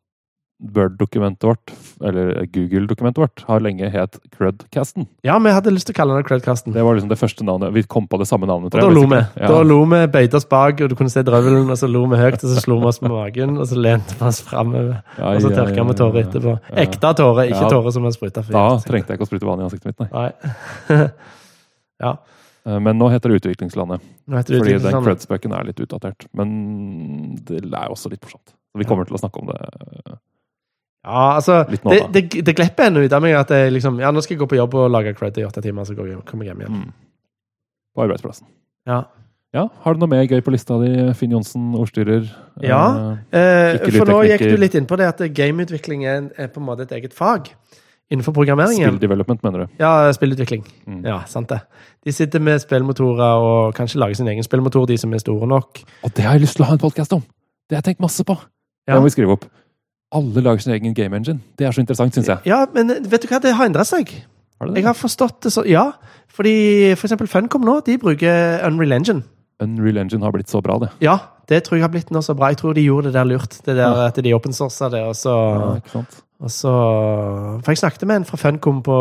Speaker 1: Bird-dokumentet vårt, eller Google-dokumentet vårt, har lenge het Crudcasten.
Speaker 2: Ja, vi hadde lyst til å kalle den CRUD-kasten.
Speaker 1: Det var liksom det første navnet. Vi kom på det samme navnet,
Speaker 2: Og da
Speaker 1: jeg,
Speaker 2: lo vi.
Speaker 1: basically.
Speaker 2: Da lo vi, bøyde oss bak, og du kunne se drøvelen, og så lo vi høyt, og så slo vi oss på magen, og så lente vi oss framover.
Speaker 1: Ja,
Speaker 2: Og så
Speaker 1: liksom- ja,
Speaker 2: tørka
Speaker 1: ja,
Speaker 2: vi tårer
Speaker 1: ja.
Speaker 2: etterpå.
Speaker 1: Ja.
Speaker 2: Ekte tårer, ikke
Speaker 1: Ja.
Speaker 2: tårer som vi spruta
Speaker 1: Da
Speaker 2: for.
Speaker 1: trengte jeg ikke å sprute vann i ansiktet mitt, nei.
Speaker 2: Nei. ja.
Speaker 1: Eh, Men nå heter det Utviklingslandet.
Speaker 2: Nå
Speaker 1: Fordi
Speaker 2: heter det sånn.
Speaker 1: den
Speaker 2: utviklingslandet.
Speaker 1: crud-spøken er litt utdatert. Men det er jo også litt morsomt. Vi kommer til å snakke om det.
Speaker 2: Ja, altså,
Speaker 1: Litt nå,
Speaker 2: det,
Speaker 1: da.
Speaker 2: det, det glepper ennå ut av meg at jeg liksom Ja, nå skal jeg gå på jobb og lage cred i åtte timer, så går jeg, kommer jeg hjem igjen.
Speaker 1: Mm. På arbeidsplassen.
Speaker 2: Ja.
Speaker 1: Ja, Har du noe mer gøy på lista di, Finn Johnsen, ordstyrer?
Speaker 2: Ja.
Speaker 1: Eh,
Speaker 2: Eh,
Speaker 1: Ikke
Speaker 2: for nå gikk
Speaker 1: lydteknikker.
Speaker 2: du litt inn på det at gameutvikling er, en- er på en måte et eget fag innenfor programmeringen.
Speaker 1: Spill development, mener du?
Speaker 2: Ja, spillutvikling.
Speaker 1: Mm.
Speaker 2: Ja, sant det. De sitter med spillmotorer og kanskje lager sin egen spillmotor, de som er store nok.
Speaker 1: Og det har jeg lyst til å ha en podkast om! Det har jeg tenkt masse på!
Speaker 2: Ja.
Speaker 1: Det må vi skrive opp. Alle lager sin egen game engine. Det er så interessant, syns jeg.
Speaker 2: Ja, men eh, vet du hva, det har endra seg.
Speaker 1: Har du
Speaker 2: Jeg
Speaker 1: det?
Speaker 2: har forstått det så Ja, fordi for eksempel Funcom nå, de bruker Unreal Engine.
Speaker 1: Unreal Engine har blitt så bra, det.
Speaker 2: Ja, det tror jeg har blitt nå så bra. Jeg tror de gjorde det der lurt. Det der at de opensourca det, og så,
Speaker 1: Ja, ikke sant?
Speaker 2: og så For jeg snakket med en fra Funcom på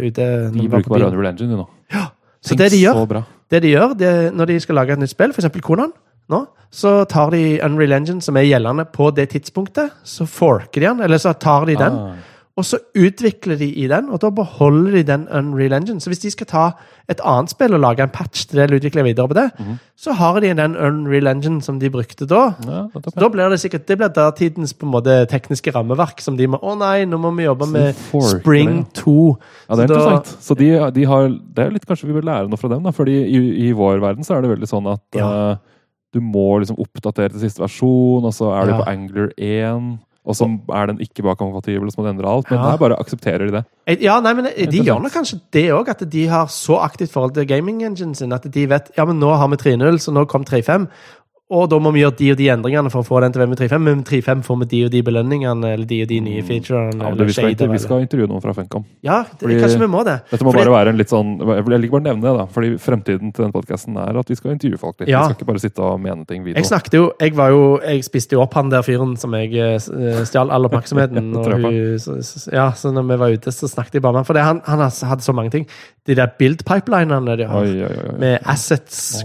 Speaker 2: ute når
Speaker 1: De
Speaker 2: vi var
Speaker 1: bruker
Speaker 2: på
Speaker 1: bare
Speaker 2: byen.
Speaker 1: Unreal Engine, de nå.
Speaker 2: Så det de gjør,
Speaker 1: Så bra.
Speaker 2: det de gjør det, er når de skal lage et nytt spill, f.eks. Konan, nå, så tar de Unreal Engine, som er gjeldende på det tidspunktet, så forker de den, eller så tar de den,
Speaker 1: Ah.
Speaker 2: og så utvikler de i den, og da beholder de den Unreal Engine. Så hvis de skal ta et annet spill og lage en patch til det, eller utvikle videre på det,
Speaker 1: Mhm.
Speaker 2: så har de den Unreal Engine som de brukte da.
Speaker 1: Ja, nettopp, ja.
Speaker 2: Da blir det sikkert, det blir datidens på en måte tekniske rammeverk som de må Å nei, nå må vi jobbe
Speaker 1: Så de
Speaker 2: med
Speaker 1: forker
Speaker 2: Spring
Speaker 1: det,
Speaker 2: 2.
Speaker 1: Ja, det er
Speaker 2: Så da-
Speaker 1: interessant. Så de, de har, det er jo litt kanskje vi bør lære noe fra dem, da. Fordi i, i vår verden så er det veldig sånn at
Speaker 2: Ja.
Speaker 1: eh, du må liksom oppdatere til siste versjon, og så er du
Speaker 2: Ja.
Speaker 1: på Angler 1, og så er den ikke bakkompatibel, og så må du endre alt. Men
Speaker 2: Ja.
Speaker 1: der bare aksepterer de det.
Speaker 2: Eh, Ja, nei, men De
Speaker 1: Interessant.
Speaker 2: gjør nok kanskje det òg, at de har så aktivt forhold til gaming-enginen sin at de vet ja, men nå har vi 3.0, så nå kom 3.5, og da må vi gjøre de og de endringene for å få den til å være med 3.5, men med 3.5 får vi de og de belønningene eller de og de nye featurene.
Speaker 1: Mm. Ja, men
Speaker 2: eller
Speaker 1: vi, skal,
Speaker 2: shader,
Speaker 1: intervju- vi
Speaker 2: eller-
Speaker 1: skal intervjue noen fra Funcom.
Speaker 2: ja det,
Speaker 1: fordi-
Speaker 2: kanskje vi må det.
Speaker 1: Dette må
Speaker 2: Fordi-
Speaker 1: bare være en litt sånn Jeg vil jeg liker bare å nevne det, da. Fordi fremtiden til denne podkasten er at vi skal intervjue folk litt.
Speaker 2: Ja.
Speaker 1: Vi skal ikke bare sitte og mene ting
Speaker 2: Jeg
Speaker 1: video.
Speaker 2: snakket jo, jeg var jo, jeg spiste jo opp han der fyren som jeg eh, stjal all
Speaker 1: <laughs> Ja,
Speaker 2: oppmerksomheten. og
Speaker 1: det tror jeg
Speaker 2: hun, så, så- ja, så når vi var ute, så snakket jeg bare med han. For det, han, han hadde så mange ting. De der build-pipelinene de har.
Speaker 1: Oi, oi, oi, oi.
Speaker 2: med assets,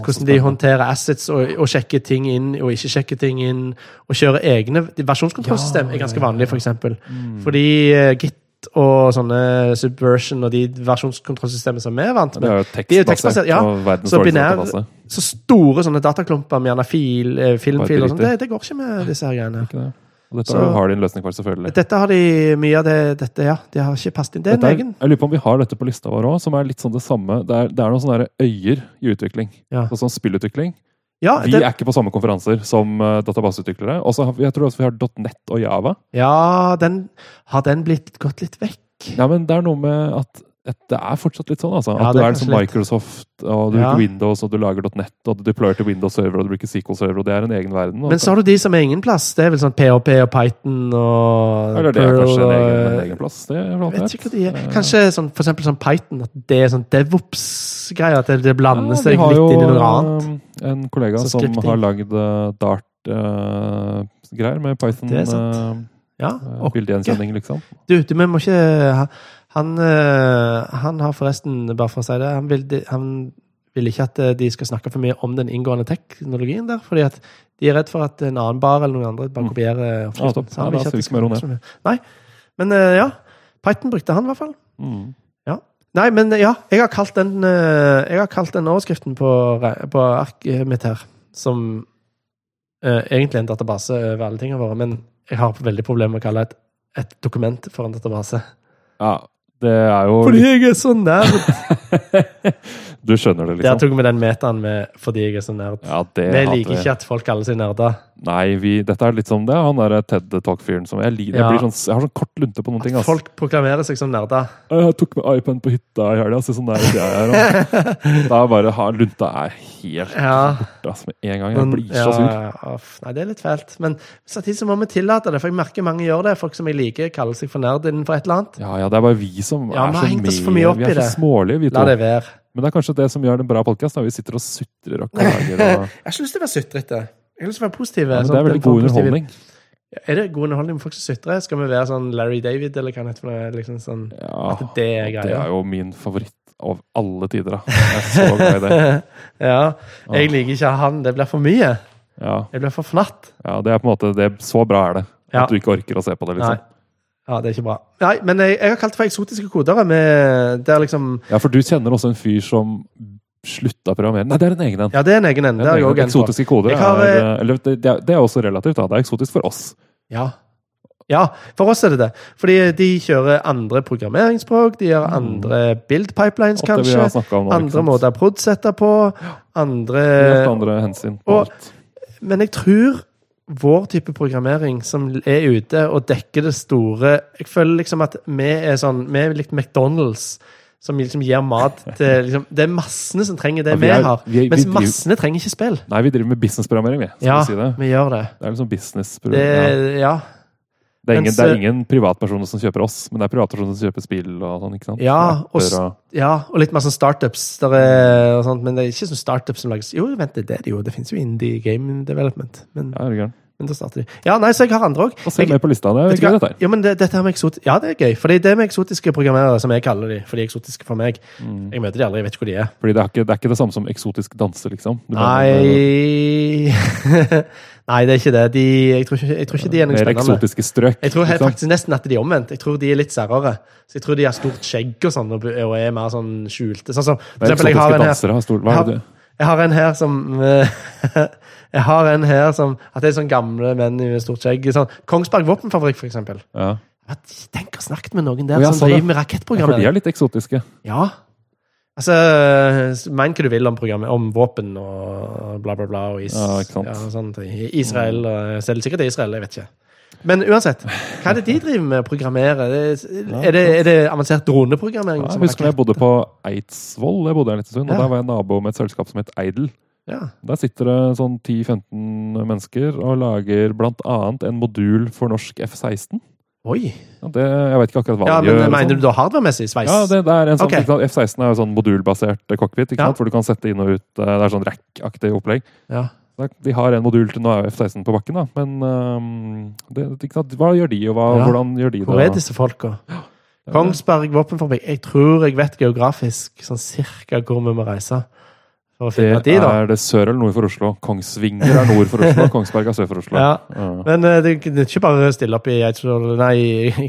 Speaker 1: Å, så
Speaker 2: hvordan de
Speaker 1: spennende.
Speaker 2: håndterer assets og, og sjekker ting inn og ikke sjekker ting inn, og kjører egne Versjonskontrollsystem er ganske vanlig, for eksempel.
Speaker 1: Mm.
Speaker 2: Fordi eh, Git og sånne Subversion og de versjonskontrollsystemene som vi er vant
Speaker 1: Det
Speaker 2: med,
Speaker 1: er jo
Speaker 2: de er jo
Speaker 1: tekstbasert.
Speaker 2: tekstbasert, ja.
Speaker 1: og verdens
Speaker 2: Så
Speaker 1: dårligste
Speaker 2: binær-
Speaker 1: database.
Speaker 2: så store sånne dataklumper med gjerne fil, eh, filmfiler og sånt,
Speaker 1: Bare
Speaker 2: det, det går ikke med disse her greiene.
Speaker 1: Ikke det? Og dette
Speaker 2: Så-
Speaker 1: har de en løsning for, selvfølgelig.
Speaker 2: Dette har de mye av det, dette, ja. De har ikke passet inn. Det er en
Speaker 1: Dette er,
Speaker 2: egen.
Speaker 1: jeg lurer på om vi har dette på lista vår òg, som er litt sånn det samme. Det er, det er noen sånne der øyer i utvikling.
Speaker 2: Ja.
Speaker 1: Sånn som spillutvikling.
Speaker 2: Ja,
Speaker 1: Vi
Speaker 2: det,
Speaker 1: er ikke på samme konferanser som eh, databaseutviklere. Og så har vi- jeg tror også vi har .net og Java.
Speaker 2: ja den, har den blitt gått litt vekk?
Speaker 1: Ja, men det er noe med at at det er fortsatt litt sånn, altså.
Speaker 2: Ja,
Speaker 1: At
Speaker 2: det
Speaker 1: du
Speaker 2: er
Speaker 1: er som
Speaker 2: kanskje litt-
Speaker 1: Microsoft, og du
Speaker 2: Ja.
Speaker 1: bruker Windows, og du lager .net, og du deployer til Windows server, og du bruker SQL server, og det er en egen verden. og
Speaker 2: Men så har du de som er ingen plass. Det er vel sånn PHP og Python og
Speaker 1: Eller det er kanskje en egen, en
Speaker 2: og-
Speaker 1: egen plass. Det er
Speaker 2: Jeg vet
Speaker 1: alt
Speaker 2: ikke hva de er.
Speaker 1: Eh,
Speaker 2: Kanskje sånn, for eksempel sånn Python, at det er sånn devops-greier. At det- det blander
Speaker 1: Ja, vi
Speaker 2: seg
Speaker 1: har
Speaker 2: litt
Speaker 1: jo,
Speaker 2: inn i noe annet.
Speaker 1: eh, En kollega
Speaker 2: Så
Speaker 1: som
Speaker 2: scripting.
Speaker 1: har lagd eh, Dart-greier med
Speaker 2: Det er sant.
Speaker 1: Python.
Speaker 2: Ja,
Speaker 1: Eh,
Speaker 2: og
Speaker 1: Bildegjenkjenning, liksom.
Speaker 2: du, du, vi må ikke ha- Han, eh, han har forresten, bare for å si det, han vil, de- han vil ikke at eh, de skal snakke for mye om den inngående teknologien der, fordi at de er redd for at en annen bar eller noen andre bare
Speaker 1: Mm.
Speaker 2: kopierer.
Speaker 1: Ja, stopp.
Speaker 2: Så han
Speaker 1: Ja,
Speaker 2: vil
Speaker 1: da
Speaker 2: ikke at
Speaker 1: skal vi
Speaker 2: det
Speaker 1: ikke mer om det.
Speaker 2: snakkes om det. Nei, men eh, ja. Python brukte han i hvert fall.
Speaker 1: Mm.
Speaker 2: Nei, men ja, jeg har kalt den, eh, jeg har kalt den overskriften på, re- på arket mitt her, som eh, egentlig er en database over eh, alle tingene våre, men Jeg har veldig problemer med å kalle et, et dokument for en database.
Speaker 1: Ja, det er jo
Speaker 2: Fordi jeg er så nerd!
Speaker 1: Du skjønner det,
Speaker 2: <laughs> Der
Speaker 1: liksom.
Speaker 2: tok vi den metaen med 'fordi jeg er så nerd'.
Speaker 1: Ja, det
Speaker 2: Vi
Speaker 1: hater
Speaker 2: liker
Speaker 1: jeg.
Speaker 2: ikke at folk kaller seg nerder.
Speaker 1: Nei, vi, dette er litt som det. Han der TED Talk-fyren som jeg liker.
Speaker 2: Ja.
Speaker 1: Jeg, blir sånn, jeg har sånn kort lunte på noen ting.
Speaker 2: At
Speaker 1: ass.
Speaker 2: folk proklamerer seg som nerder.
Speaker 1: Jeg tok med iPad på hytta i helga. Se sånn nær jeg er. ass.
Speaker 2: <laughs>
Speaker 1: Da er bare ha, Lunta er helt
Speaker 2: Ja.
Speaker 1: borte ass, med en gang. <laughs> Jeg
Speaker 2: Men,
Speaker 1: blir så sur.
Speaker 2: ja, ja, uff. nei, det er litt fælt. Men samtidig så må vi tillate det, for jeg merker mange gjør det. Folk som jeg liker, kaller seg for nerd innenfor et eller annet.
Speaker 1: Ja, ja, det er bare vi som
Speaker 2: Ja,
Speaker 1: er
Speaker 2: vi har
Speaker 1: så
Speaker 2: hengt oss
Speaker 1: med.
Speaker 2: for mye opp
Speaker 1: vi
Speaker 2: i
Speaker 1: er så
Speaker 2: det.
Speaker 1: smålige, vi to.
Speaker 2: La det være.
Speaker 1: Men det er kanskje det som gjør en bra podkast. Vi sitter og sutrer og klager. Og,
Speaker 2: <laughs> Jeg har ikke lyst til å være sutrete. Jeg har lyst til å være positiv.
Speaker 1: ja, men
Speaker 2: sånn
Speaker 1: det
Speaker 2: at
Speaker 1: er
Speaker 2: vi
Speaker 1: veldig
Speaker 2: kommer
Speaker 1: god
Speaker 2: positiv-
Speaker 1: underholdning.
Speaker 2: Er det god underholdning med folk som sutrer? Skal vi være sånn Larry David, eller hva det heter? for noe, Liksom sånn.
Speaker 1: Ja,
Speaker 2: At det er
Speaker 1: og
Speaker 2: greia.
Speaker 1: Ah, det er jo min favoritt av alle tider. Da. Jeg er Ah. så glad i det.
Speaker 2: <laughs> ja. Jeg liker ikke han. Det blir for mye.
Speaker 1: Ja,
Speaker 2: Jeg blir for fnatt.
Speaker 1: ja, det er på en måte det, Så bra er det.
Speaker 2: Ja.
Speaker 1: At du ikke orker å se på det. liksom.
Speaker 2: Nei. Ja, det er ikke bra. Nei, men jeg, jeg har kalt det for eksotiske koder. Med, der liksom
Speaker 1: Ja, for du kjenner også en fyr som slutta å programmere. Nei, det er en egen en.
Speaker 2: Ja, det er en egen ende.
Speaker 1: En
Speaker 2: Det har jeg
Speaker 1: egen
Speaker 2: også
Speaker 1: en.
Speaker 2: en på.
Speaker 1: Eksotiske koder
Speaker 2: Jeg har,
Speaker 1: er, eh, eller, det, det er- det er også relativt. da. Det er eksotisk for oss.
Speaker 2: Ja. ja, for oss er det det. Fordi de kjører andre programmeringsspråk, de
Speaker 1: Mm.
Speaker 2: gjør andre build-pipelines,
Speaker 1: Alt det vi
Speaker 2: kanskje.
Speaker 1: har snakket om nå, ikke
Speaker 2: Andre
Speaker 1: sant?
Speaker 2: måter å prodsette på. Andre
Speaker 1: Helt andre hensyn. på
Speaker 2: og-
Speaker 1: alt.
Speaker 2: Men jeg tror vår type programmering som er ute og dekker det store Jeg føler liksom at vi er sånn Vi er litt McDonald's. Som liksom gir mat
Speaker 1: <laughs>
Speaker 2: til liksom, Det er massene som trenger det
Speaker 1: Ja, vi
Speaker 2: vi,
Speaker 1: er-
Speaker 2: har.
Speaker 1: vi er- vi
Speaker 2: mens
Speaker 1: driver-
Speaker 2: massene trenger ikke spill.
Speaker 1: Nei, vi driver med businessprogrammering, vi. Skal
Speaker 2: Ja,
Speaker 1: vi si det.
Speaker 2: vi gjør det.
Speaker 1: Det er liksom business.
Speaker 2: det
Speaker 1: Det,
Speaker 2: ja.
Speaker 1: det, er ingen,
Speaker 2: mens,
Speaker 1: det er ingen privatpersoner som kjøper oss, men det er privatpersoner som kjøper spill og sånn. ikke sant? og
Speaker 2: Ja, og s- Ja, og litt mer sånn startups. Der er, og sånt, men det er ikke sånn startups som lages Jo, vent, det er det jo. Det finnes jo Indie Game Development. Men,
Speaker 1: ja, er du gæren.
Speaker 2: men da starter de. Ja, nei, så jeg har andre òg.
Speaker 1: Og se mer på lista. Det er gøy, dette her.
Speaker 2: Ja, men det, dette her med eksot ja, det er gøy. Fordi det med eksotiske programmerere, som jeg kaller de, for de er eksotiske for meg
Speaker 1: Mm.
Speaker 2: Jeg møter de aldri, jeg vet ikke hvor de er.
Speaker 1: Fordi det er, ikke, det er ikke det samme som eksotisk danse, liksom. Du mener,
Speaker 2: Nei <laughs> Nei, det er ikke det. De, jeg, tror ikke, jeg tror ikke de er noe
Speaker 1: mer
Speaker 2: spennende.
Speaker 1: eksotiske strøk.
Speaker 2: Jeg tror helt,
Speaker 1: liksom.
Speaker 2: faktisk nesten at de er omvendt. Jeg tror de er litt særere. Så jeg tror de har stort skjegg og sånn, og og er mer sånn skjulte. Sånn som for
Speaker 1: Det er
Speaker 2: eksempel, jeg har
Speaker 1: eksotiske
Speaker 2: en her.
Speaker 1: dansere har stor Hva er det?
Speaker 2: Jeg har en her som <laughs> eh, Jeg har en her som At det er sånn gamle menn med stort skjegg. Sånn. Kongsberg våpenfabrikk, for eksempel.
Speaker 1: Ja.
Speaker 2: At, tenk å snakke med noen der
Speaker 1: Å, ja,
Speaker 2: som
Speaker 1: sånn, ja.
Speaker 2: driver med
Speaker 1: Ja, for de
Speaker 2: rakettprogrammer.
Speaker 1: er litt eksotiske.
Speaker 2: Ja. Altså, men hva du vil om programmet, om våpen og bla, bla, bla, og is,
Speaker 1: Ja, ikke sant.
Speaker 2: og sånne ting. I- Israel og Så er det sikkert det er Israel, jeg vet ikke. Men uansett, hva er det de driver med? Programmerer? Det- Er det, er det avansert droneprogrammering?
Speaker 1: Ja,
Speaker 2: som
Speaker 1: jeg husker da jeg
Speaker 2: rakett-
Speaker 1: bodde på Eidsvoll. Jeg bodde der en liten stund,
Speaker 2: Ja.
Speaker 1: og Der var jeg nabo med et selskap som het Eidel.
Speaker 2: Ja.
Speaker 1: Der sitter det sånn 10-15 mennesker og lager bl.a. en modul for norsk F-16.
Speaker 2: Oi.
Speaker 1: Ja, det, jeg vet ikke akkurat hva
Speaker 2: Ja,
Speaker 1: de
Speaker 2: men
Speaker 1: gjør. og sånn.
Speaker 2: mener du da hardware-messig? Sveis?
Speaker 1: ja, det, det er en sånn,
Speaker 2: Ok.
Speaker 1: ikke sant, F-16 er jo sånn modulbasert eh, cockpit, ikke
Speaker 2: Ja.
Speaker 1: sant? hvor du kan sette inn og ut. eh, Det er sånn rack-aktig opplegg.
Speaker 2: ja.
Speaker 1: Nei, De har en modul til nå er jo F-16 på bakken, da. Men øhm, det, ikke sant? hva gjør de, og hva,
Speaker 2: Ja.
Speaker 1: hvordan gjør de det?
Speaker 2: Hvor er disse folka? Kongsberg våpenfabrikk. Jeg tror jeg vet geografisk sånn cirka hvor vi må reise. For å
Speaker 1: Det
Speaker 2: finne de, da.
Speaker 1: er det sør eller nord for Oslo. Kongsvinger er nord for
Speaker 2: <laughs>
Speaker 1: Oslo, Kongsberg er sør for Oslo.
Speaker 2: Ja.
Speaker 1: Ja.
Speaker 2: Men eh, det det er ikke bare å stille opp i, Eidsvoll- nei,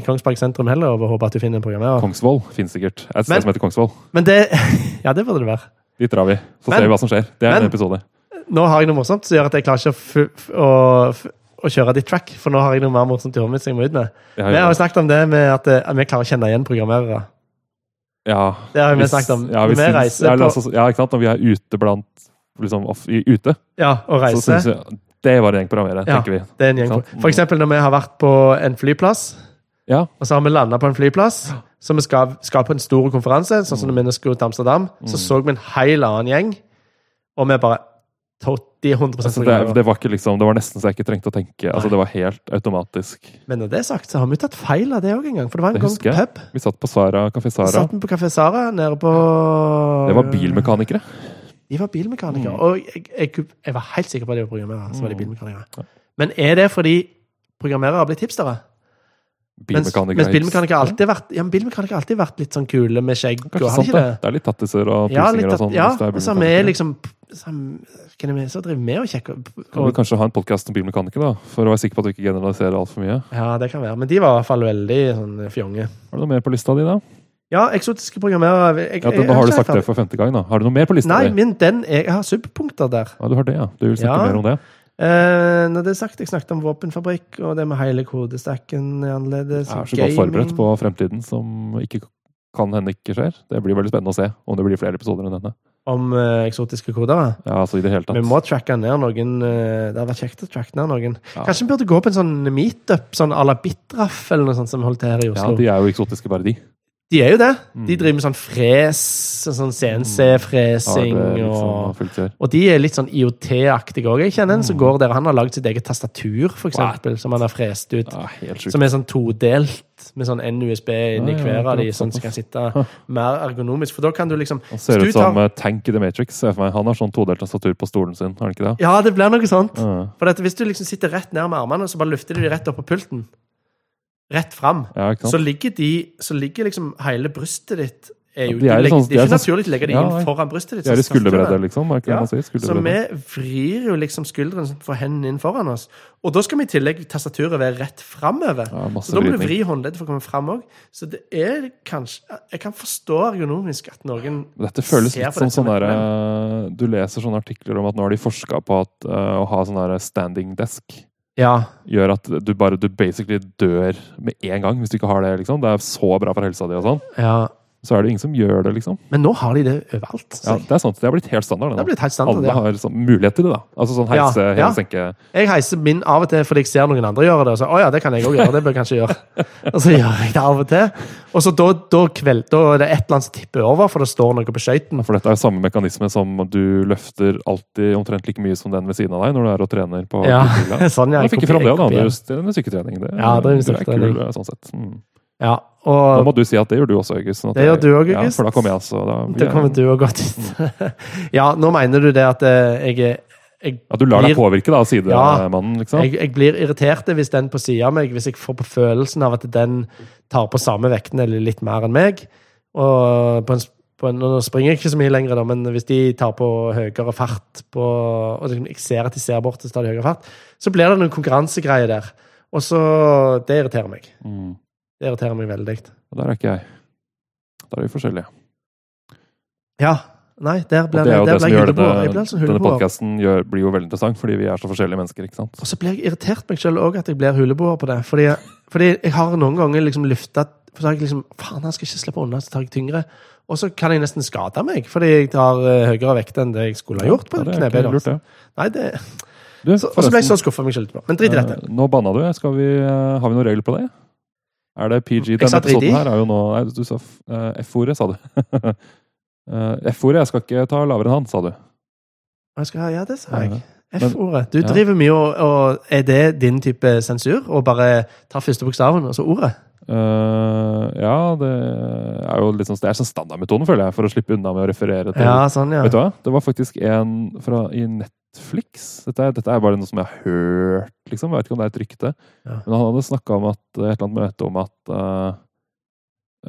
Speaker 2: i Kongsberg sentrum heller og håpe at du finner en programmerer.
Speaker 1: Kongsvoll finnes sikkert. Et sted
Speaker 2: Men-
Speaker 1: som heter Kongsvoll.
Speaker 2: Men det <laughs> Ja, det burde det være.
Speaker 1: Dit drar vi, så
Speaker 2: Men-
Speaker 1: ser vi hva som skjer. Det er
Speaker 2: men-
Speaker 1: en episode.
Speaker 2: Nå har jeg noe morsomt som gjør at jeg klarer ikke å, fu- f- å, f- å kjøre ditt track, for nå har jeg noe mer morsomt i hodet mitt som jeg må ut med.
Speaker 1: Det
Speaker 2: Vi
Speaker 1: har
Speaker 2: har
Speaker 1: jo-
Speaker 2: jo snakket om det med at eh, vi klarer å kjenne igjen programmerere.
Speaker 1: Ja,
Speaker 2: Det har vi
Speaker 1: hvis-
Speaker 2: snakket om.
Speaker 1: Ja, hvis
Speaker 2: Vi
Speaker 1: vi-
Speaker 2: reiser
Speaker 1: ja,
Speaker 2: på-
Speaker 1: altså, ja, ikke sant? Når vi er ute blant liksom, off, i, ute,
Speaker 2: Ja, å
Speaker 1: så
Speaker 2: reise.
Speaker 1: synes vi det var en gjeng programmerere,
Speaker 2: Ja.
Speaker 1: tenker vi.
Speaker 2: Det er en gjeng.
Speaker 1: Sant?
Speaker 2: For eksempel når vi har vært på en flyplass,
Speaker 1: Ja.
Speaker 2: og så har vi landa på en flyplass, så vi skal, skal på en stor konferanse, sånn
Speaker 1: Mm.
Speaker 2: som når vi skulle til Amsterdam, så så vi en hel annen gjeng, og vi bare tot- De er 100
Speaker 1: Så Altså, det,
Speaker 2: programmerer.
Speaker 1: det, var ikke liksom, det var nesten så jeg ikke trengte å tenke. Altså, det var helt automatisk.
Speaker 2: Men når det er sagt, så har vi tatt feil av det òg en gang, for det var en
Speaker 1: Det
Speaker 2: gang
Speaker 1: husker
Speaker 2: på
Speaker 1: jeg.
Speaker 2: pub.
Speaker 1: Vi satt på Sara, Kafé Sara.
Speaker 2: Så satt vi på Kafé Sara nede på
Speaker 1: Det var Mm. bilmekanikere.
Speaker 2: De var bilmekanikere. Og jeg, jeg, jeg var helt sikker på at de var programmerere. Så var de
Speaker 1: Mm.
Speaker 2: bilmekanikere. Men er det fordi programmerere har blitt hipstere? Mens,
Speaker 1: Bilmekanikere.
Speaker 2: mens bilmekanikere alltid har vært, ja, men bilmekanikere har alltid vært litt sånn kule med skjegg. og
Speaker 1: Kanskje
Speaker 2: har de
Speaker 1: sant,
Speaker 2: ikke
Speaker 1: det.
Speaker 2: det?
Speaker 1: Det er litt tattiser og
Speaker 2: Ja,
Speaker 1: pilsinger
Speaker 2: litt
Speaker 1: og
Speaker 2: at,
Speaker 1: sånn.
Speaker 2: ja
Speaker 1: hvis det er
Speaker 2: og så har vi
Speaker 1: bilmekanikere.
Speaker 2: liksom så, har- Hvem er det så driver med å sjekke
Speaker 1: Kan vi
Speaker 2: og,
Speaker 1: kanskje ha en podkast om bilmekanikere, da? For å være sikker på at du ikke generaliserer altfor mye.
Speaker 2: Ja, det kan være. Men de var i hvert fall veldig sånn fjonge.
Speaker 1: Har du noe mer på lista di, da?
Speaker 2: Ja, eksotiske programmerere jeg,
Speaker 1: Ja,
Speaker 2: Eh, jeg- jeg
Speaker 1: nå har du
Speaker 2: ikke
Speaker 1: sagt det
Speaker 2: helt
Speaker 1: for femte gang, da. Har du noe mer på
Speaker 2: ferdig.
Speaker 1: lista
Speaker 2: Nei,
Speaker 1: di?
Speaker 2: men den er, jeg har subpunkter der.
Speaker 1: Ja, du har det, ja. Du vil snakke
Speaker 2: Ja.
Speaker 1: mer om det?
Speaker 2: Eh, når det er sagt, jeg snakket om våpenfabrikk, og det med hele kodestacken er annerledes.
Speaker 1: Jeg er så
Speaker 2: og
Speaker 1: godt forberedt
Speaker 2: Altså, gaming.
Speaker 1: på fremtiden som ikke kan hende ikke skjer. Det blir veldig spennende å se om det blir flere episoder enn denne.
Speaker 2: Om eh, eksotiske koder.
Speaker 1: Ja, altså i det hele tatt.
Speaker 2: Vi må tracke ned noen eh, Det hadde vært kjekt å tracke ned noen.
Speaker 1: Ja.
Speaker 2: Kanskje vi burde gå på en sånn meetup, sånn à la Bitraff, eller noe sånt som vi holdt til her i
Speaker 1: Ja,
Speaker 2: Oslo.
Speaker 1: de er jo eksotiske bare de.
Speaker 2: de... er jo det. altså. De
Speaker 1: Mm.
Speaker 2: driver med sånn fres, sånn
Speaker 1: Har det
Speaker 2: CNC-fresing
Speaker 1: liksom
Speaker 2: og
Speaker 1: fulgt her.
Speaker 2: Og de er litt sånn IOT-aktige òg. Jeg kjenner en
Speaker 1: Mm.
Speaker 2: som går der. Han har lagd sitt eget tastatur, for eksempel, som han har frest ut.
Speaker 1: Ja, helt sjukt.
Speaker 2: Som er sånn todelt, med sånn en USB inni
Speaker 1: Ja, ja,
Speaker 2: hver av de,
Speaker 1: akkurat,
Speaker 2: sånn
Speaker 1: såpass.
Speaker 2: at du kan sitte mer ergonomisk. For da kan du liksom
Speaker 1: Han ser
Speaker 2: hvis
Speaker 1: ut
Speaker 2: du tar-
Speaker 1: som eh, Tank i The Matrix. ser jeg for meg. Han har sånn todelt tastatur på stolen sin, har han ikke det? Mm.
Speaker 2: Ja, det blir noe sånt.
Speaker 1: Ja,
Speaker 2: For at hvis du liksom sitter rett ned med armene, så bare løfter du de rett opp på pulten. Rett fram.
Speaker 1: ja ikke
Speaker 2: Så
Speaker 1: sant?
Speaker 2: ligger de Så ligger liksom hele brystet ditt er jo,
Speaker 1: Ja, de er
Speaker 2: du
Speaker 1: litt
Speaker 2: legger,
Speaker 1: sånn- de er
Speaker 2: Det er ikke
Speaker 1: sånn-
Speaker 2: naturlig å legge de
Speaker 1: Ja,
Speaker 2: inn
Speaker 1: nei.
Speaker 2: foran brystet ditt.
Speaker 1: De er i
Speaker 2: så skafter du
Speaker 1: skulderbredde,
Speaker 2: det.
Speaker 1: liksom. Er ikke det
Speaker 2: sånn Ja,
Speaker 1: man sier?
Speaker 2: Så
Speaker 1: Skulderbredde.
Speaker 2: vi vrir jo liksom skuldrene sånn, for hendene inn foran oss. Og da skal vi i tillegg tastaturet være rett framover.
Speaker 1: Ja, masse
Speaker 2: så da må du
Speaker 1: vridning.
Speaker 2: vri håndleddet for å komme fram òg. Så det er kanskje Jeg kan forstå ergonomisk at noen
Speaker 1: Dette føles
Speaker 2: ser
Speaker 1: litt
Speaker 2: på
Speaker 1: som
Speaker 2: dette som
Speaker 1: sånn
Speaker 2: et
Speaker 1: derre Du leser sånne artikler om at nå har de forska på at eh, å ha sånn derre standing desk
Speaker 2: Ja.
Speaker 1: gjør at du bare du basically dør med en gang hvis du ikke har det. liksom. Det er så bra for helsa di og sånn.
Speaker 2: ja.
Speaker 1: Så er det ingen som gjør det, liksom.
Speaker 2: Men nå har de det overalt.
Speaker 1: Ja,
Speaker 2: Så
Speaker 1: det er sant. Det har blitt helt standard.
Speaker 2: det
Speaker 1: nå.
Speaker 2: har blitt helt standard.
Speaker 1: Alle
Speaker 2: Ja.
Speaker 1: har sånn mulighet til det, da. Altså sånn
Speaker 2: Ja,
Speaker 1: heise,
Speaker 2: ja.
Speaker 1: senke
Speaker 2: Jeg heiser min av og til fordi jeg ser noen andre gjøre det. Og så, å ja, det kan jeg også gjøre, det bør jeg kanskje gjøre. Og så gjør jeg det av og til. Og så da, da, kveld, da er det et eller annet som tipper over, for det står noe på skøyten.
Speaker 1: For dette er jo samme mekanisme som du løfter alltid omtrent like mye som den ved siden av deg når du er og trener på
Speaker 2: Ja,
Speaker 1: kulhylla.
Speaker 2: <laughs> sånn, ja.
Speaker 1: Da
Speaker 2: jeg
Speaker 1: fikk jeg
Speaker 2: kopier-
Speaker 1: fram det, da.
Speaker 2: kopier.
Speaker 1: Du trener styrketrening. Det,
Speaker 2: Ja, det er
Speaker 1: du
Speaker 2: styrketrening.
Speaker 1: kul, sånn sett. Mm.
Speaker 2: Ja, og
Speaker 1: Da må du si at det gjør du også, August. Sånn at
Speaker 2: Det gjør
Speaker 1: jeg-
Speaker 2: du også,
Speaker 1: Ja,
Speaker 2: August.
Speaker 1: for da kommer jeg også. Da,
Speaker 2: Da kommer du og godt ut.
Speaker 1: Mm.
Speaker 2: <laughs> ja, nå mener du det at eh, jeg, er- jeg,
Speaker 1: At du lar deg
Speaker 2: blir-
Speaker 1: påvirke da, av
Speaker 2: Ja.
Speaker 1: sidemannen, liksom.
Speaker 2: jeg, jeg blir irritert hvis den på siden av meg, hvis jeg får på følelsen av at den tar på samme vekten eller litt mer enn meg. Og på en, s- på en, nå springer jeg ikke så mye lenger, da, men hvis de tar på høyere fart, på, og liksom jeg ser at de ser bort og tar de høyere fart, så blir det noen konkurransegreier der. Og så Det irriterer meg.
Speaker 1: Mm.
Speaker 2: Det irriterer meg veldig.
Speaker 1: Og Der er ikke jeg. Der er vi forskjellige.
Speaker 2: Ja. Nei, der
Speaker 1: Og
Speaker 2: ble
Speaker 1: det er jo det
Speaker 2: der ble
Speaker 1: som
Speaker 2: jeg
Speaker 1: gjør
Speaker 2: hudebor. Jeg ble
Speaker 1: denne,
Speaker 2: helt sånn
Speaker 1: denne
Speaker 2: hudebor.
Speaker 1: podkasten blir jo veldig interessant, fordi vi er så forskjellige mennesker, ikke sant.
Speaker 2: Og så blir jeg irritert meg sjøl òg at jeg blir huleboer på det. Fordi, fordi jeg har noen ganger liksom løfta For så har jeg liksom Faen, han skal ikke slippe unna, så tar jeg tyngre. Og så kan jeg nesten skade meg, fordi jeg tar eh, høyere vekt enn det jeg skulle ha gjort. på
Speaker 1: Ja,
Speaker 2: ja,
Speaker 1: det er ikke lurt, det.
Speaker 2: Nei, det...
Speaker 1: Du,
Speaker 2: så, Og så ble jeg
Speaker 1: forresten,
Speaker 2: så skuffa meg sjøl etterpå. Men drit i dette.
Speaker 1: Eh, Nå banna du. Skal vi, eh, har vi noen regler på det? Er det PG?
Speaker 2: Jeg
Speaker 1: Denne
Speaker 2: sa drit i.
Speaker 1: episoden her er jo nå Nei, du sa f- eh, F-ordet, sa du. <laughs> Eh, F-ordet. Jeg skal ikke ta lavere enn han, sa du.
Speaker 2: Jeg skal, ja, det sa jeg.
Speaker 1: Men-
Speaker 2: F-ordet. Du
Speaker 1: ja.
Speaker 2: driver mye og, og Er det din type sensur? Å bare ta første bokstaven, og så ordet?
Speaker 1: Eh, ja, det er jo litt sånn, det er sånn standardmetoden, føler jeg, for å slippe unna med å referere til
Speaker 2: Ja, sånn, ja.
Speaker 1: Vet du hva? Det var faktisk en fra, i Netflix. Dette, er- dette er bare noe som jeg har hørt, liksom. Jeg vet ikke om det er et rykte.
Speaker 2: Ja.
Speaker 1: Men han hadde snakka om at, et eller annet møte om at eh,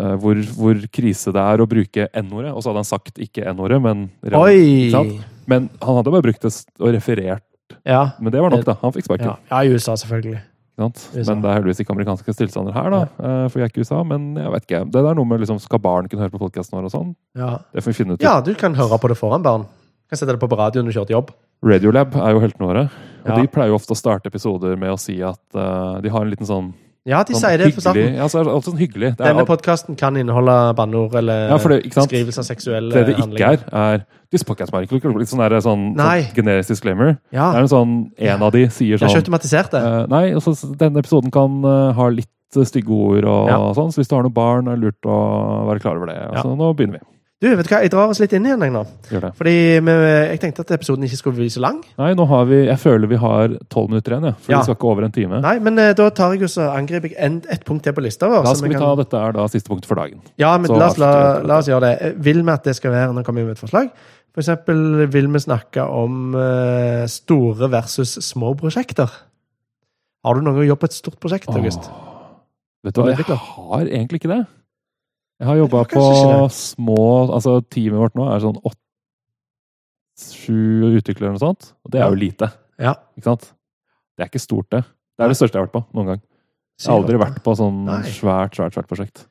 Speaker 1: eh, hvor, hvor krise det er å bruke N-ordet. Og så hadde han sagt ikke N-ordet, men, real- ikke sant?
Speaker 2: Oi!
Speaker 1: men han hadde bare brukt det s- og referert.
Speaker 2: Ja.
Speaker 1: Men det var nok, da. Han fikk sparken.
Speaker 2: ja. Ja, i USA, selvfølgelig.
Speaker 1: Ikke sant?
Speaker 2: USA.
Speaker 1: Men det er heldigvis ikke amerikanske tilstander her, da. eh, For jeg er ikke i USA, men jeg vet ikke. Det er noe med liksom, Skal barn kunne høre på podkasten vår og sånn?
Speaker 2: Ja.
Speaker 1: Det får vi finne ut.
Speaker 2: Ja, du kan høre på det foran barn. Du kan sette det på på radioen når du kjører til jobb.
Speaker 1: Radiolab er jo heltene våre. Og
Speaker 2: Ja.
Speaker 1: de pleier jo ofte å starte episoder med å si at eh, de har en liten sånn,
Speaker 2: Ja, de
Speaker 1: sånn
Speaker 2: sier det
Speaker 1: hyggelig
Speaker 2: på starten.
Speaker 1: Ja, så er det alltid sånn hyggelig. Det, er,
Speaker 2: Denne podkasten kan inneholde banneord eller
Speaker 1: Ja, for det- ikke sant?
Speaker 2: beskrivelser av seksuelle
Speaker 1: det det ikke er, er This podcast might include- Litt sånn, der, sånn,
Speaker 2: Nei.
Speaker 1: sånn generisk disclaimer.
Speaker 2: Ja,
Speaker 1: Det er en sånn En av de sier
Speaker 2: jeg har ikke
Speaker 1: sånn
Speaker 2: automatisert det.
Speaker 1: eh, Nei, altså, denne episoden kan eh, ha litt eh, stygge ord og
Speaker 2: Ja.
Speaker 1: sånn, så hvis du har noen barn, er det lurt å være klar over det.
Speaker 2: Ja.
Speaker 1: Så nå begynner vi.
Speaker 2: Du, vet du hva, jeg drar oss litt inn igjen jeg, nå.
Speaker 1: Gjør det.
Speaker 2: Fordi vi, jeg tenkte at episoden ikke skulle bli så lang.
Speaker 1: Nei, nå har vi Jeg føler vi har tolv minutter igjen, ja, for
Speaker 2: Ja.
Speaker 1: vi skal ikke over en time.
Speaker 2: Nei, men eh, da tar jeg jo så angriper jeg en, et punkt til på lista vår.
Speaker 1: Da
Speaker 2: som
Speaker 1: skal
Speaker 2: vi
Speaker 1: vi ta
Speaker 2: kan-
Speaker 1: Dette er da siste punkt for dagen.
Speaker 2: Ja, men
Speaker 1: så
Speaker 2: la oss, la,
Speaker 1: avslutter vi
Speaker 2: la oss gjøre det. Eh, Vil vi at det skal være Nå kommer vi med et forslag. For eksempel vil vi snakke om eh, store versus små prosjekter. Har du noen gang jobbet på et stort prosjekt, August?
Speaker 1: Åh. Vet du hva, jeg har egentlig ikke det. Jeg har jobba
Speaker 2: Det var
Speaker 1: på
Speaker 2: kanskje ikke
Speaker 1: små Altså, teamet vårt nå er sånn åtte Sju utviklere eller noe sånt. Og det er jo lite,
Speaker 2: Ja.
Speaker 1: ikke sant? Det er ikke stort, det. Det er det største jeg har vært på noen gang. Jeg har aldri vært på sånn
Speaker 2: Nei.
Speaker 1: svært, svært svært prosjekt.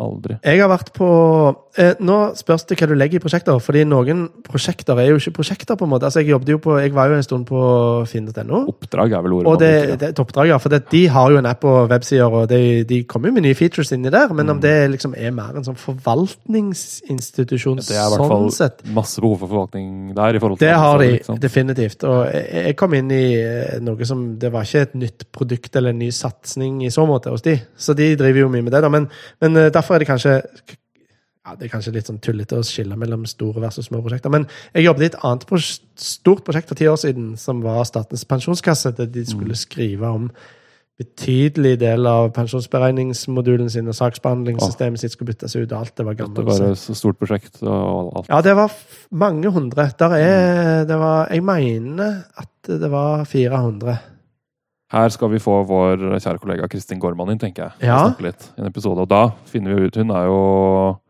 Speaker 1: Aldri.
Speaker 2: Jeg har vært på eh, Nå spørs det hva du legger i prosjekter. fordi noen prosjekter er jo ikke prosjekter. på en måte. Altså, Jeg jobbet jo på, jeg var jo en stund på finn.no.
Speaker 1: Oppdrag er vel ordet. man
Speaker 2: Og det,
Speaker 1: bruker, ja.
Speaker 2: det er et oppdrag, ja. For det, de har jo en app og websider, og de, de kommer jo med nye features inni der. Men
Speaker 1: Mm.
Speaker 2: om det liksom er mer en sånn forvaltningsinstitusjon
Speaker 1: Det er i hvert
Speaker 2: sånn sett
Speaker 1: fall masse behov for forvaltning der. i forhold til
Speaker 2: det har de
Speaker 1: andre, ikke sant?
Speaker 2: definitivt. Og jeg jeg kom inn i eh, noe som Det var ikke et nytt produkt eller en ny satsing i så måte hos de. Så de driver jo mye med det, da. Men, men eh, derfor er det kanskje ja, det er kanskje litt sånn tullete å skille mellom store versus små prosjekter. Men jeg jobbet i et annet pros stort prosjekt for ti år siden, som var Statens pensjonskasse, der de
Speaker 1: Mm.
Speaker 2: skulle skrive om betydelig del av pensjonsberegningsmodulen sin og saksbehandlingssystemet sitt skulle byttes ut, og alt det var
Speaker 1: Det
Speaker 2: gammelt.
Speaker 1: var et så stort prosjekt og alt.
Speaker 2: Ja, det var f- mange hundre. Der er,
Speaker 1: Mm.
Speaker 2: det var, jeg mener at det var 400.
Speaker 1: Her skal vi få vår kjære kollega Kristin Gorman inn, tenker jeg. og
Speaker 2: Ja.
Speaker 1: snakke litt i en episode. Og da finner vi jo ut Hun er jo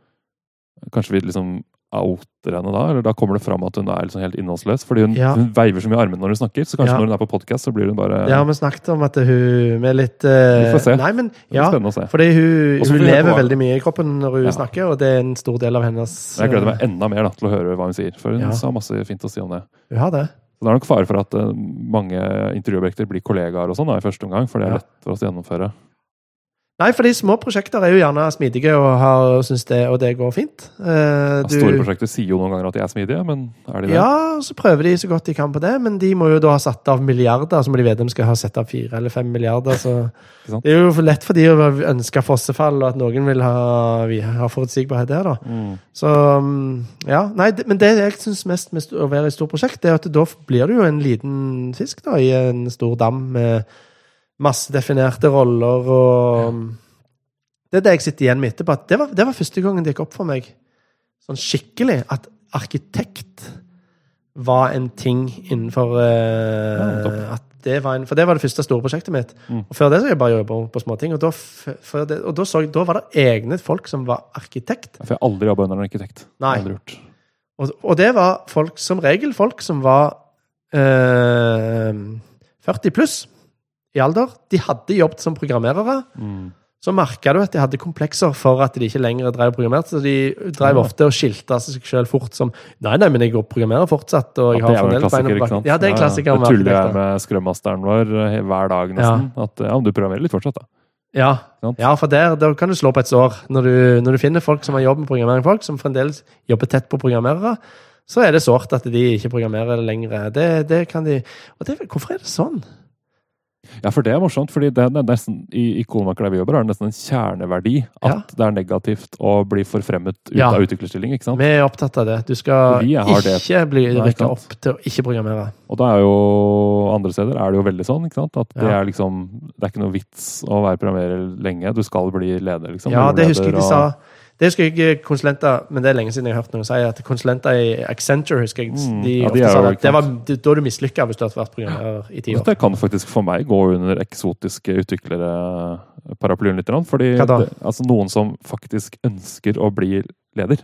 Speaker 1: Kanskje vi liksom outer henne da? Eller da kommer det fram at hun er liksom helt innholdsløs? Fordi hun,
Speaker 2: Ja.
Speaker 1: hun veiver så mye i armene når hun snakker, så kanskje
Speaker 2: Ja.
Speaker 1: når hun er på podkast, så blir hun bare
Speaker 2: Det har vi snakket om at hun Vi er litt eh,
Speaker 1: Vi får se.
Speaker 2: Nei, men,
Speaker 1: Det blir
Speaker 2: ja,
Speaker 1: spennende å se.
Speaker 2: fordi hun,
Speaker 1: Og så får
Speaker 2: hun
Speaker 1: vi høre
Speaker 2: lever
Speaker 1: på hva-
Speaker 2: veldig mye i kroppen når hun
Speaker 1: Ja.
Speaker 2: snakker, og det er en stor del av hennes eh,
Speaker 1: Men Jeg gleder meg enda mer da, til å høre hva hun sier, for hun
Speaker 2: Ja.
Speaker 1: sa masse fint å si om det.
Speaker 2: eh, Hun har det.
Speaker 1: Så Det er nok fare for at eh, mange intervjuobjekter blir kollegaer og sånn da, i første omgang, for det er
Speaker 2: Ja.
Speaker 1: lett for oss å gjennomføre.
Speaker 2: Nei, fordi små prosjekter er jo gjerne smidige og, har, og synes det, og det går fint. Eh,
Speaker 1: Ja,
Speaker 2: du-
Speaker 1: Store prosjekter sier jo noen ganger at de er smidige, men er de det?
Speaker 2: Ja, og så prøver de så godt de kan på det, men de må jo da ha satt av milliarder. Så må de vite om de skal ha satt av fire eller fem milliarder. Så
Speaker 1: <laughs> Ikke sant?
Speaker 2: det er jo for lett for de å ønske fossefall, og at noen vil ha, vi- ha forutsigbarhet der, da.
Speaker 1: Mm.
Speaker 2: Så mm, ja. Nei, det, men det jeg syns mest med st- å være i et stort prosjekt, det er at da blir du jo en liten fisk da, i en stor dam med masse definerte roller og Det er det jeg sitter igjen med etterpå. At det, var, det var første gangen det gikk opp for meg sånn skikkelig at arkitekt var en ting innenfor eh,
Speaker 1: Ja, nettopp.
Speaker 2: at det var en, For det var det første store prosjektet mitt.
Speaker 1: Mm.
Speaker 2: Og før det så jobba jeg bare på småting. Og, da, f- før det, og da, så, jeg- da var det egne folk som var arkitekt.
Speaker 1: For jeg har aldri jobba under en arkitekt.
Speaker 2: Nei.
Speaker 1: Aldri gjort.
Speaker 2: Og, og det var folk, som regel folk som var eh, 40 pluss i alder. De hadde jobbet som programmerere.
Speaker 1: Mm.
Speaker 2: Så merka du at de hadde komplekser for at de ikke lenger drev og programmerte. Så de drev
Speaker 1: Ja.
Speaker 2: ofte og skilte seg sjøl fort som Nei, nei, men jeg går og programmerer fortsatt. Og
Speaker 1: Ja,
Speaker 2: jeg
Speaker 1: det
Speaker 2: har
Speaker 1: er jo en
Speaker 2: fremdeles beina
Speaker 1: klassiker,
Speaker 2: på
Speaker 1: ikke
Speaker 2: bakken.
Speaker 1: sant?
Speaker 2: Ja, det er en klassiker. om
Speaker 1: det tuller jeg
Speaker 2: arkitekter.
Speaker 1: med skrømmasteren vår eh, hver dag, nesten. At ja, men du programmerer litt fortsatt, da.
Speaker 2: Ja,
Speaker 1: Sant?
Speaker 2: ja for der, der kan du slå på et sår. Når du, når du finner folk som har jobb med programmering, folk som fremdeles jobber tett på programmerere, så er det sårt at de ikke programmerer lenger. Det, det kan de Og det, hvorfor er det sånn?
Speaker 1: Ja, for det er morsomt, fordi det er nesten, i, i Kolmaker der vi jobber, er det nesten en kjerneverdi at det er negativt å bli forfremmet ut
Speaker 2: Ja.
Speaker 1: av utviklerstilling, ikke sant?
Speaker 2: Vi er opptatt av det. Du skal
Speaker 1: Vi har det.
Speaker 2: ikke bli
Speaker 1: Nei,
Speaker 2: rykka
Speaker 1: sant.
Speaker 2: opp til å ikke programmere.
Speaker 1: Og da er jo andre steder er det jo veldig sånn, ikke sant? At det
Speaker 2: Ja.
Speaker 1: er liksom Det er ikke noe vits å være programmerer lenge. Du skal bli leder, liksom.
Speaker 2: Ja, det
Speaker 1: Mellomleder
Speaker 2: husker jeg de
Speaker 1: og-
Speaker 2: sa. Det husker jeg konsulenter Men det er lenge siden jeg har hørt noen si at konsulenter i Accenture husker jeg,
Speaker 1: Mm,
Speaker 2: de
Speaker 1: ja, de
Speaker 2: ofte
Speaker 1: er
Speaker 2: sa
Speaker 1: jo
Speaker 2: at
Speaker 1: ikke
Speaker 2: det var
Speaker 1: sant.
Speaker 2: det- da er du mislykka hvis du hadde vært programmerer i ti
Speaker 1: Så
Speaker 2: år.
Speaker 1: det kan faktisk for meg gå under eksotiske utviklere-paraplyen litt. grann, Fordi
Speaker 2: Hva da?
Speaker 1: det, altså noen som faktisk ønsker å bli leder.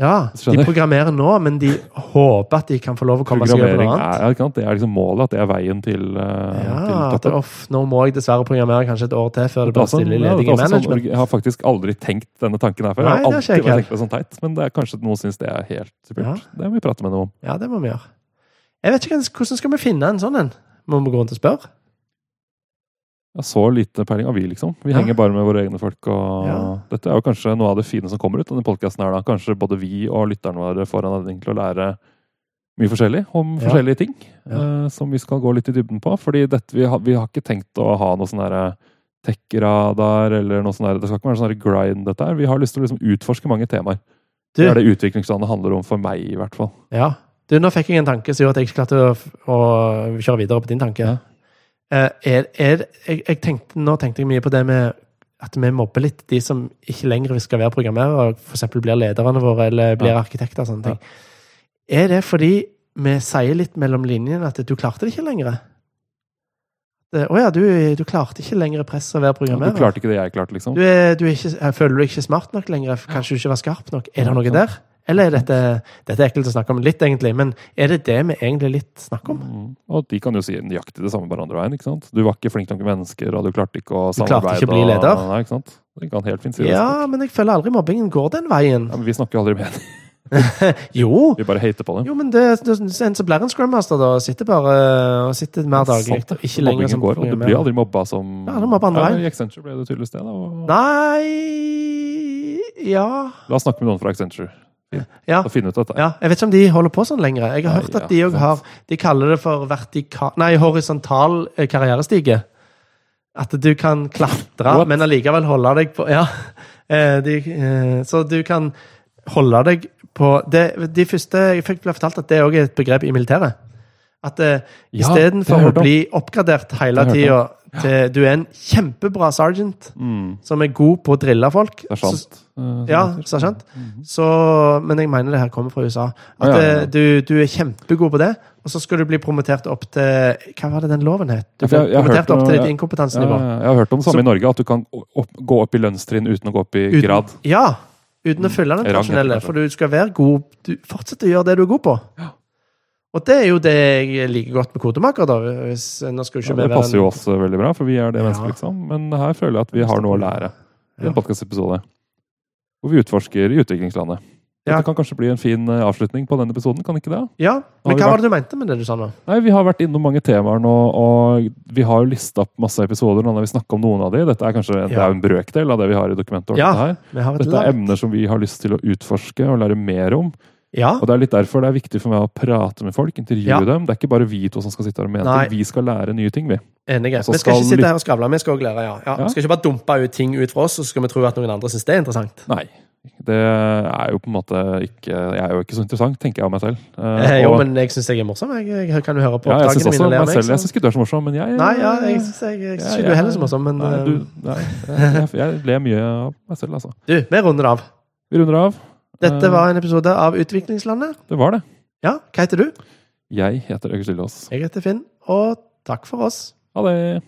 Speaker 2: Ja, de
Speaker 1: Skjønner.
Speaker 2: programmerer nå, men de håper at de kan få lov å komme seg over
Speaker 1: Programmering
Speaker 2: noe annet.
Speaker 1: er, ja, ikke sant? Det er liksom målet, at det er veien til, eh, til
Speaker 2: Ja, at,
Speaker 1: toppen.
Speaker 2: off, nå må jeg dessverre programmere kanskje et år til før det
Speaker 1: Det er
Speaker 2: blir
Speaker 1: også-
Speaker 2: stille
Speaker 1: ja, det
Speaker 2: ledig
Speaker 1: er
Speaker 2: i
Speaker 1: også sånn-
Speaker 2: management.
Speaker 1: jeg har faktisk aldri tenkt denne tanken her før.
Speaker 2: Nei,
Speaker 1: jeg har
Speaker 2: det
Speaker 1: alltid
Speaker 2: har ikke jeg
Speaker 1: bare tenkt det sånn teit, men det er kanskje noen syns det er helt supert.
Speaker 2: Ja.
Speaker 1: Det må vi prate med noen om.
Speaker 2: Ja, det må vi gjøre. Jeg vet ikke hvem- hvordan skal vi finne en sånn en. Må vi gå rundt og spørre?
Speaker 1: Ja, så lite peiling har vi, liksom. Vi
Speaker 2: Ja.
Speaker 1: henger bare med våre egne folk. Og
Speaker 2: Ja.
Speaker 1: Dette er jo kanskje noe av det fine som kommer ut av denne podkasten. Kanskje både vi og lytterne våre får anledning til å lære mye forskjellig om
Speaker 2: Ja.
Speaker 1: forskjellige ting.
Speaker 2: Ja.
Speaker 1: eh, som vi skal gå litt i dybden på. Fordi dette, vi, har, vi har ikke tenkt å ha noe sånn derre tech-radar eller noe sånn der. Det skal ikke være sånn der grind, dette her. Vi har lyst til å liksom utforske mange temaer.
Speaker 2: Du,
Speaker 1: Det er det utviklingslandet handler om for meg, i hvert fall.
Speaker 2: ja. du, nå fikk jeg en tanke som gjorde at jeg ikke klarte å, å kjøre videre på din tanke.
Speaker 1: Ja.
Speaker 2: Eh, Er, er, jeg, jeg tenkte, nå tenkte jeg mye på det med at vi mobber litt de som ikke lenger skal være programmerere, f.eks. blir lederne våre eller blir
Speaker 1: Ja.
Speaker 2: arkitekter og sånne ting. Er det fordi vi sier litt mellom linjene at du klarte det ikke lenger? Det- Å ja, du, du klarte ikke lenger presset å være
Speaker 1: Du
Speaker 2: programmerer.
Speaker 1: klarte ikke det jeg klarte, liksom.
Speaker 2: eh, Du er, du er ikke, jeg føler du er ikke smart nok lenger. Kanskje du ikke var skarp nok. Er det
Speaker 1: Ja,
Speaker 2: noe
Speaker 1: sant.
Speaker 2: der? Eller er dette, dette er ekkelt å snakke om litt, egentlig, men er det det vi egentlig litt snakker om?
Speaker 1: Mm. Og de kan jo si nøyaktig det samme på andre veien. ikke sant? Du var ikke flink nok med mennesker, og du klarte ikke å
Speaker 2: Du
Speaker 1: samarbeide.
Speaker 2: klarte ikke å bli
Speaker 1: og-
Speaker 2: leder.
Speaker 1: Nei, ikke sant? De kan helt fint si det.
Speaker 2: Ja, men jeg føler aldri mobbingen går den veien.
Speaker 1: Ja, men vi snakker jo aldri med dem.
Speaker 2: Jo!
Speaker 1: <laughs> Vi bare hater på dem.
Speaker 2: Jo, men det, det, sånn, en som blir en scrummaster, da, sitter bare og sitter mer daglig. og Ikke lenger
Speaker 1: Mobbingen
Speaker 2: som
Speaker 1: går, og du blir aldri mobba som
Speaker 2: Ja, du mobber andre veien.
Speaker 1: I Accenture ble det tydeligvis det. da. Og...
Speaker 2: Nei Ja.
Speaker 1: La oss snakke med noen fra Accenture
Speaker 2: Ja.
Speaker 1: og finne ut dette.
Speaker 2: Ja, jeg vet ikke om de holder på sånn lenger. Jeg har
Speaker 1: Nei,
Speaker 2: hørt at
Speaker 1: ja,
Speaker 2: de òg
Speaker 1: sant.
Speaker 2: har De kaller det for vertikal Nei, horisontal eh, karrierestige. At du kan klatre,
Speaker 1: What?
Speaker 2: men allikevel holde deg på Ja. Eh, De, eh, så du kan holde deg på det, De første Jeg fikk ble fortalt at det òg er et begrep i militæret. At eh,
Speaker 1: Ja, det har
Speaker 2: istedenfor
Speaker 1: jeg
Speaker 2: å
Speaker 1: hørt om.
Speaker 2: bli oppgradert hele
Speaker 1: Det har jeg
Speaker 2: tida til Du er en kjempebra sergeant
Speaker 1: Mm,
Speaker 2: som er god på å drille folk.
Speaker 1: det er
Speaker 2: så-
Speaker 1: sant. eh, som
Speaker 2: ja,
Speaker 1: det heter.
Speaker 2: sergeant.
Speaker 1: Mhm.
Speaker 2: Så, men jeg mener det her kommer fra USA.
Speaker 1: Ja,
Speaker 2: At
Speaker 1: ja, ja.
Speaker 2: eh, Du, du er kjempegod på det, og så skal du bli promotert opp til Hva var det den loven het? Du
Speaker 1: Ja, for
Speaker 2: blir
Speaker 1: jeg- jeg har
Speaker 2: promotert
Speaker 1: hørt
Speaker 2: opp til
Speaker 1: noe-
Speaker 2: ditt
Speaker 1: Ja,
Speaker 2: inkompetansenivå.
Speaker 1: ja, Eh, jeg har hørt om det samme
Speaker 2: Så-
Speaker 1: i Norge, at du kan opp, gå opp i lønnstrinn uten å gå opp i
Speaker 2: Uten-
Speaker 1: grad. Mm.
Speaker 2: Ja, uten å fylle
Speaker 1: Rang,
Speaker 2: den
Speaker 1: heter det
Speaker 2: tradisjonelle.
Speaker 1: kanskje.
Speaker 2: For du skal være god Du fortsetter å gjøre det du er god på.
Speaker 1: Ja.
Speaker 2: Og det er jo det jeg liker godt med kodemaker, da. Hvis, eh, nå skal jo ikke
Speaker 1: Ja, det
Speaker 2: vi være
Speaker 1: passer jo oss veldig bra, for vi er det
Speaker 2: Ja.
Speaker 1: mennesket, liksom. Men her føler jeg at vi har noe å lære i
Speaker 2: Ja.
Speaker 1: en podkastepisode. Hvor vi utforsker i utviklingslandet.
Speaker 2: Ja.
Speaker 1: Det kan kanskje bli en fin eh, avslutning på denne episoden, kan ikke det?
Speaker 2: Ja,
Speaker 1: Har
Speaker 2: men
Speaker 1: vi
Speaker 2: hva var det du mente med det du sa nå?
Speaker 1: Nei, Vi har vært innom mange temaer nå, og vi har jo lista opp masse episoder. Nå har vi snakket om noen av de. Dette er kanskje det er jo en brøkdel av det vi har i dokumentet. og
Speaker 2: Ja.
Speaker 1: dette her.
Speaker 2: Vi har et
Speaker 1: Dette er
Speaker 2: lag.
Speaker 1: emner som vi har lyst til å utforske og lære mer om.
Speaker 2: Ja.
Speaker 1: Og Det er litt derfor det er viktig for meg å prate med folk, intervjue
Speaker 2: Ja.
Speaker 1: dem. Det er ikke bare vi to som skal sitte her og mene
Speaker 2: Nei.
Speaker 1: ting. Vi skal lære nye ting, vi.
Speaker 2: Enige.
Speaker 1: Og så
Speaker 2: Vi skal
Speaker 1: skal
Speaker 2: ikke
Speaker 1: lyt-
Speaker 2: sitte her og skravle, vi skal også lære. ja. ja.
Speaker 1: Ja.
Speaker 2: Vi skal ikke bare dumpe ut ting ut fra oss, og så skal vi tro at noen andre syns det er interessant.
Speaker 1: Nei. Det er jo på en måte ikke Jeg er jo ikke så interessant, tenker jeg om meg selv. Eh,
Speaker 2: Eh, jo,
Speaker 1: og-
Speaker 2: men jeg syns jeg er morsom. Jeg, jeg kan jo høre på
Speaker 1: ja, jeg syns
Speaker 2: opptakene mine.
Speaker 1: også
Speaker 2: og le
Speaker 1: meg
Speaker 2: av meg,
Speaker 1: selv. Jeg
Speaker 2: så-
Speaker 1: syns ikke du er så morsom, men jeg
Speaker 2: Nei, ja, jeg syns jeg, jeg synes
Speaker 1: Ja,
Speaker 2: ikke du
Speaker 1: ja,
Speaker 2: er heller så morsom, men
Speaker 1: Nei, du, nei, jeg, jeg ler mye av meg selv, altså.
Speaker 2: eh, du, vi runder av.
Speaker 1: Vi runder av.
Speaker 2: Dette
Speaker 1: Eh,
Speaker 2: var en episode av Utviklingslandet.
Speaker 1: Det var det.
Speaker 2: Ja, hva heter du?
Speaker 1: Jeg heter Øystein Lås.
Speaker 2: Jeg heter Finn, og takk for oss.
Speaker 1: Ha det.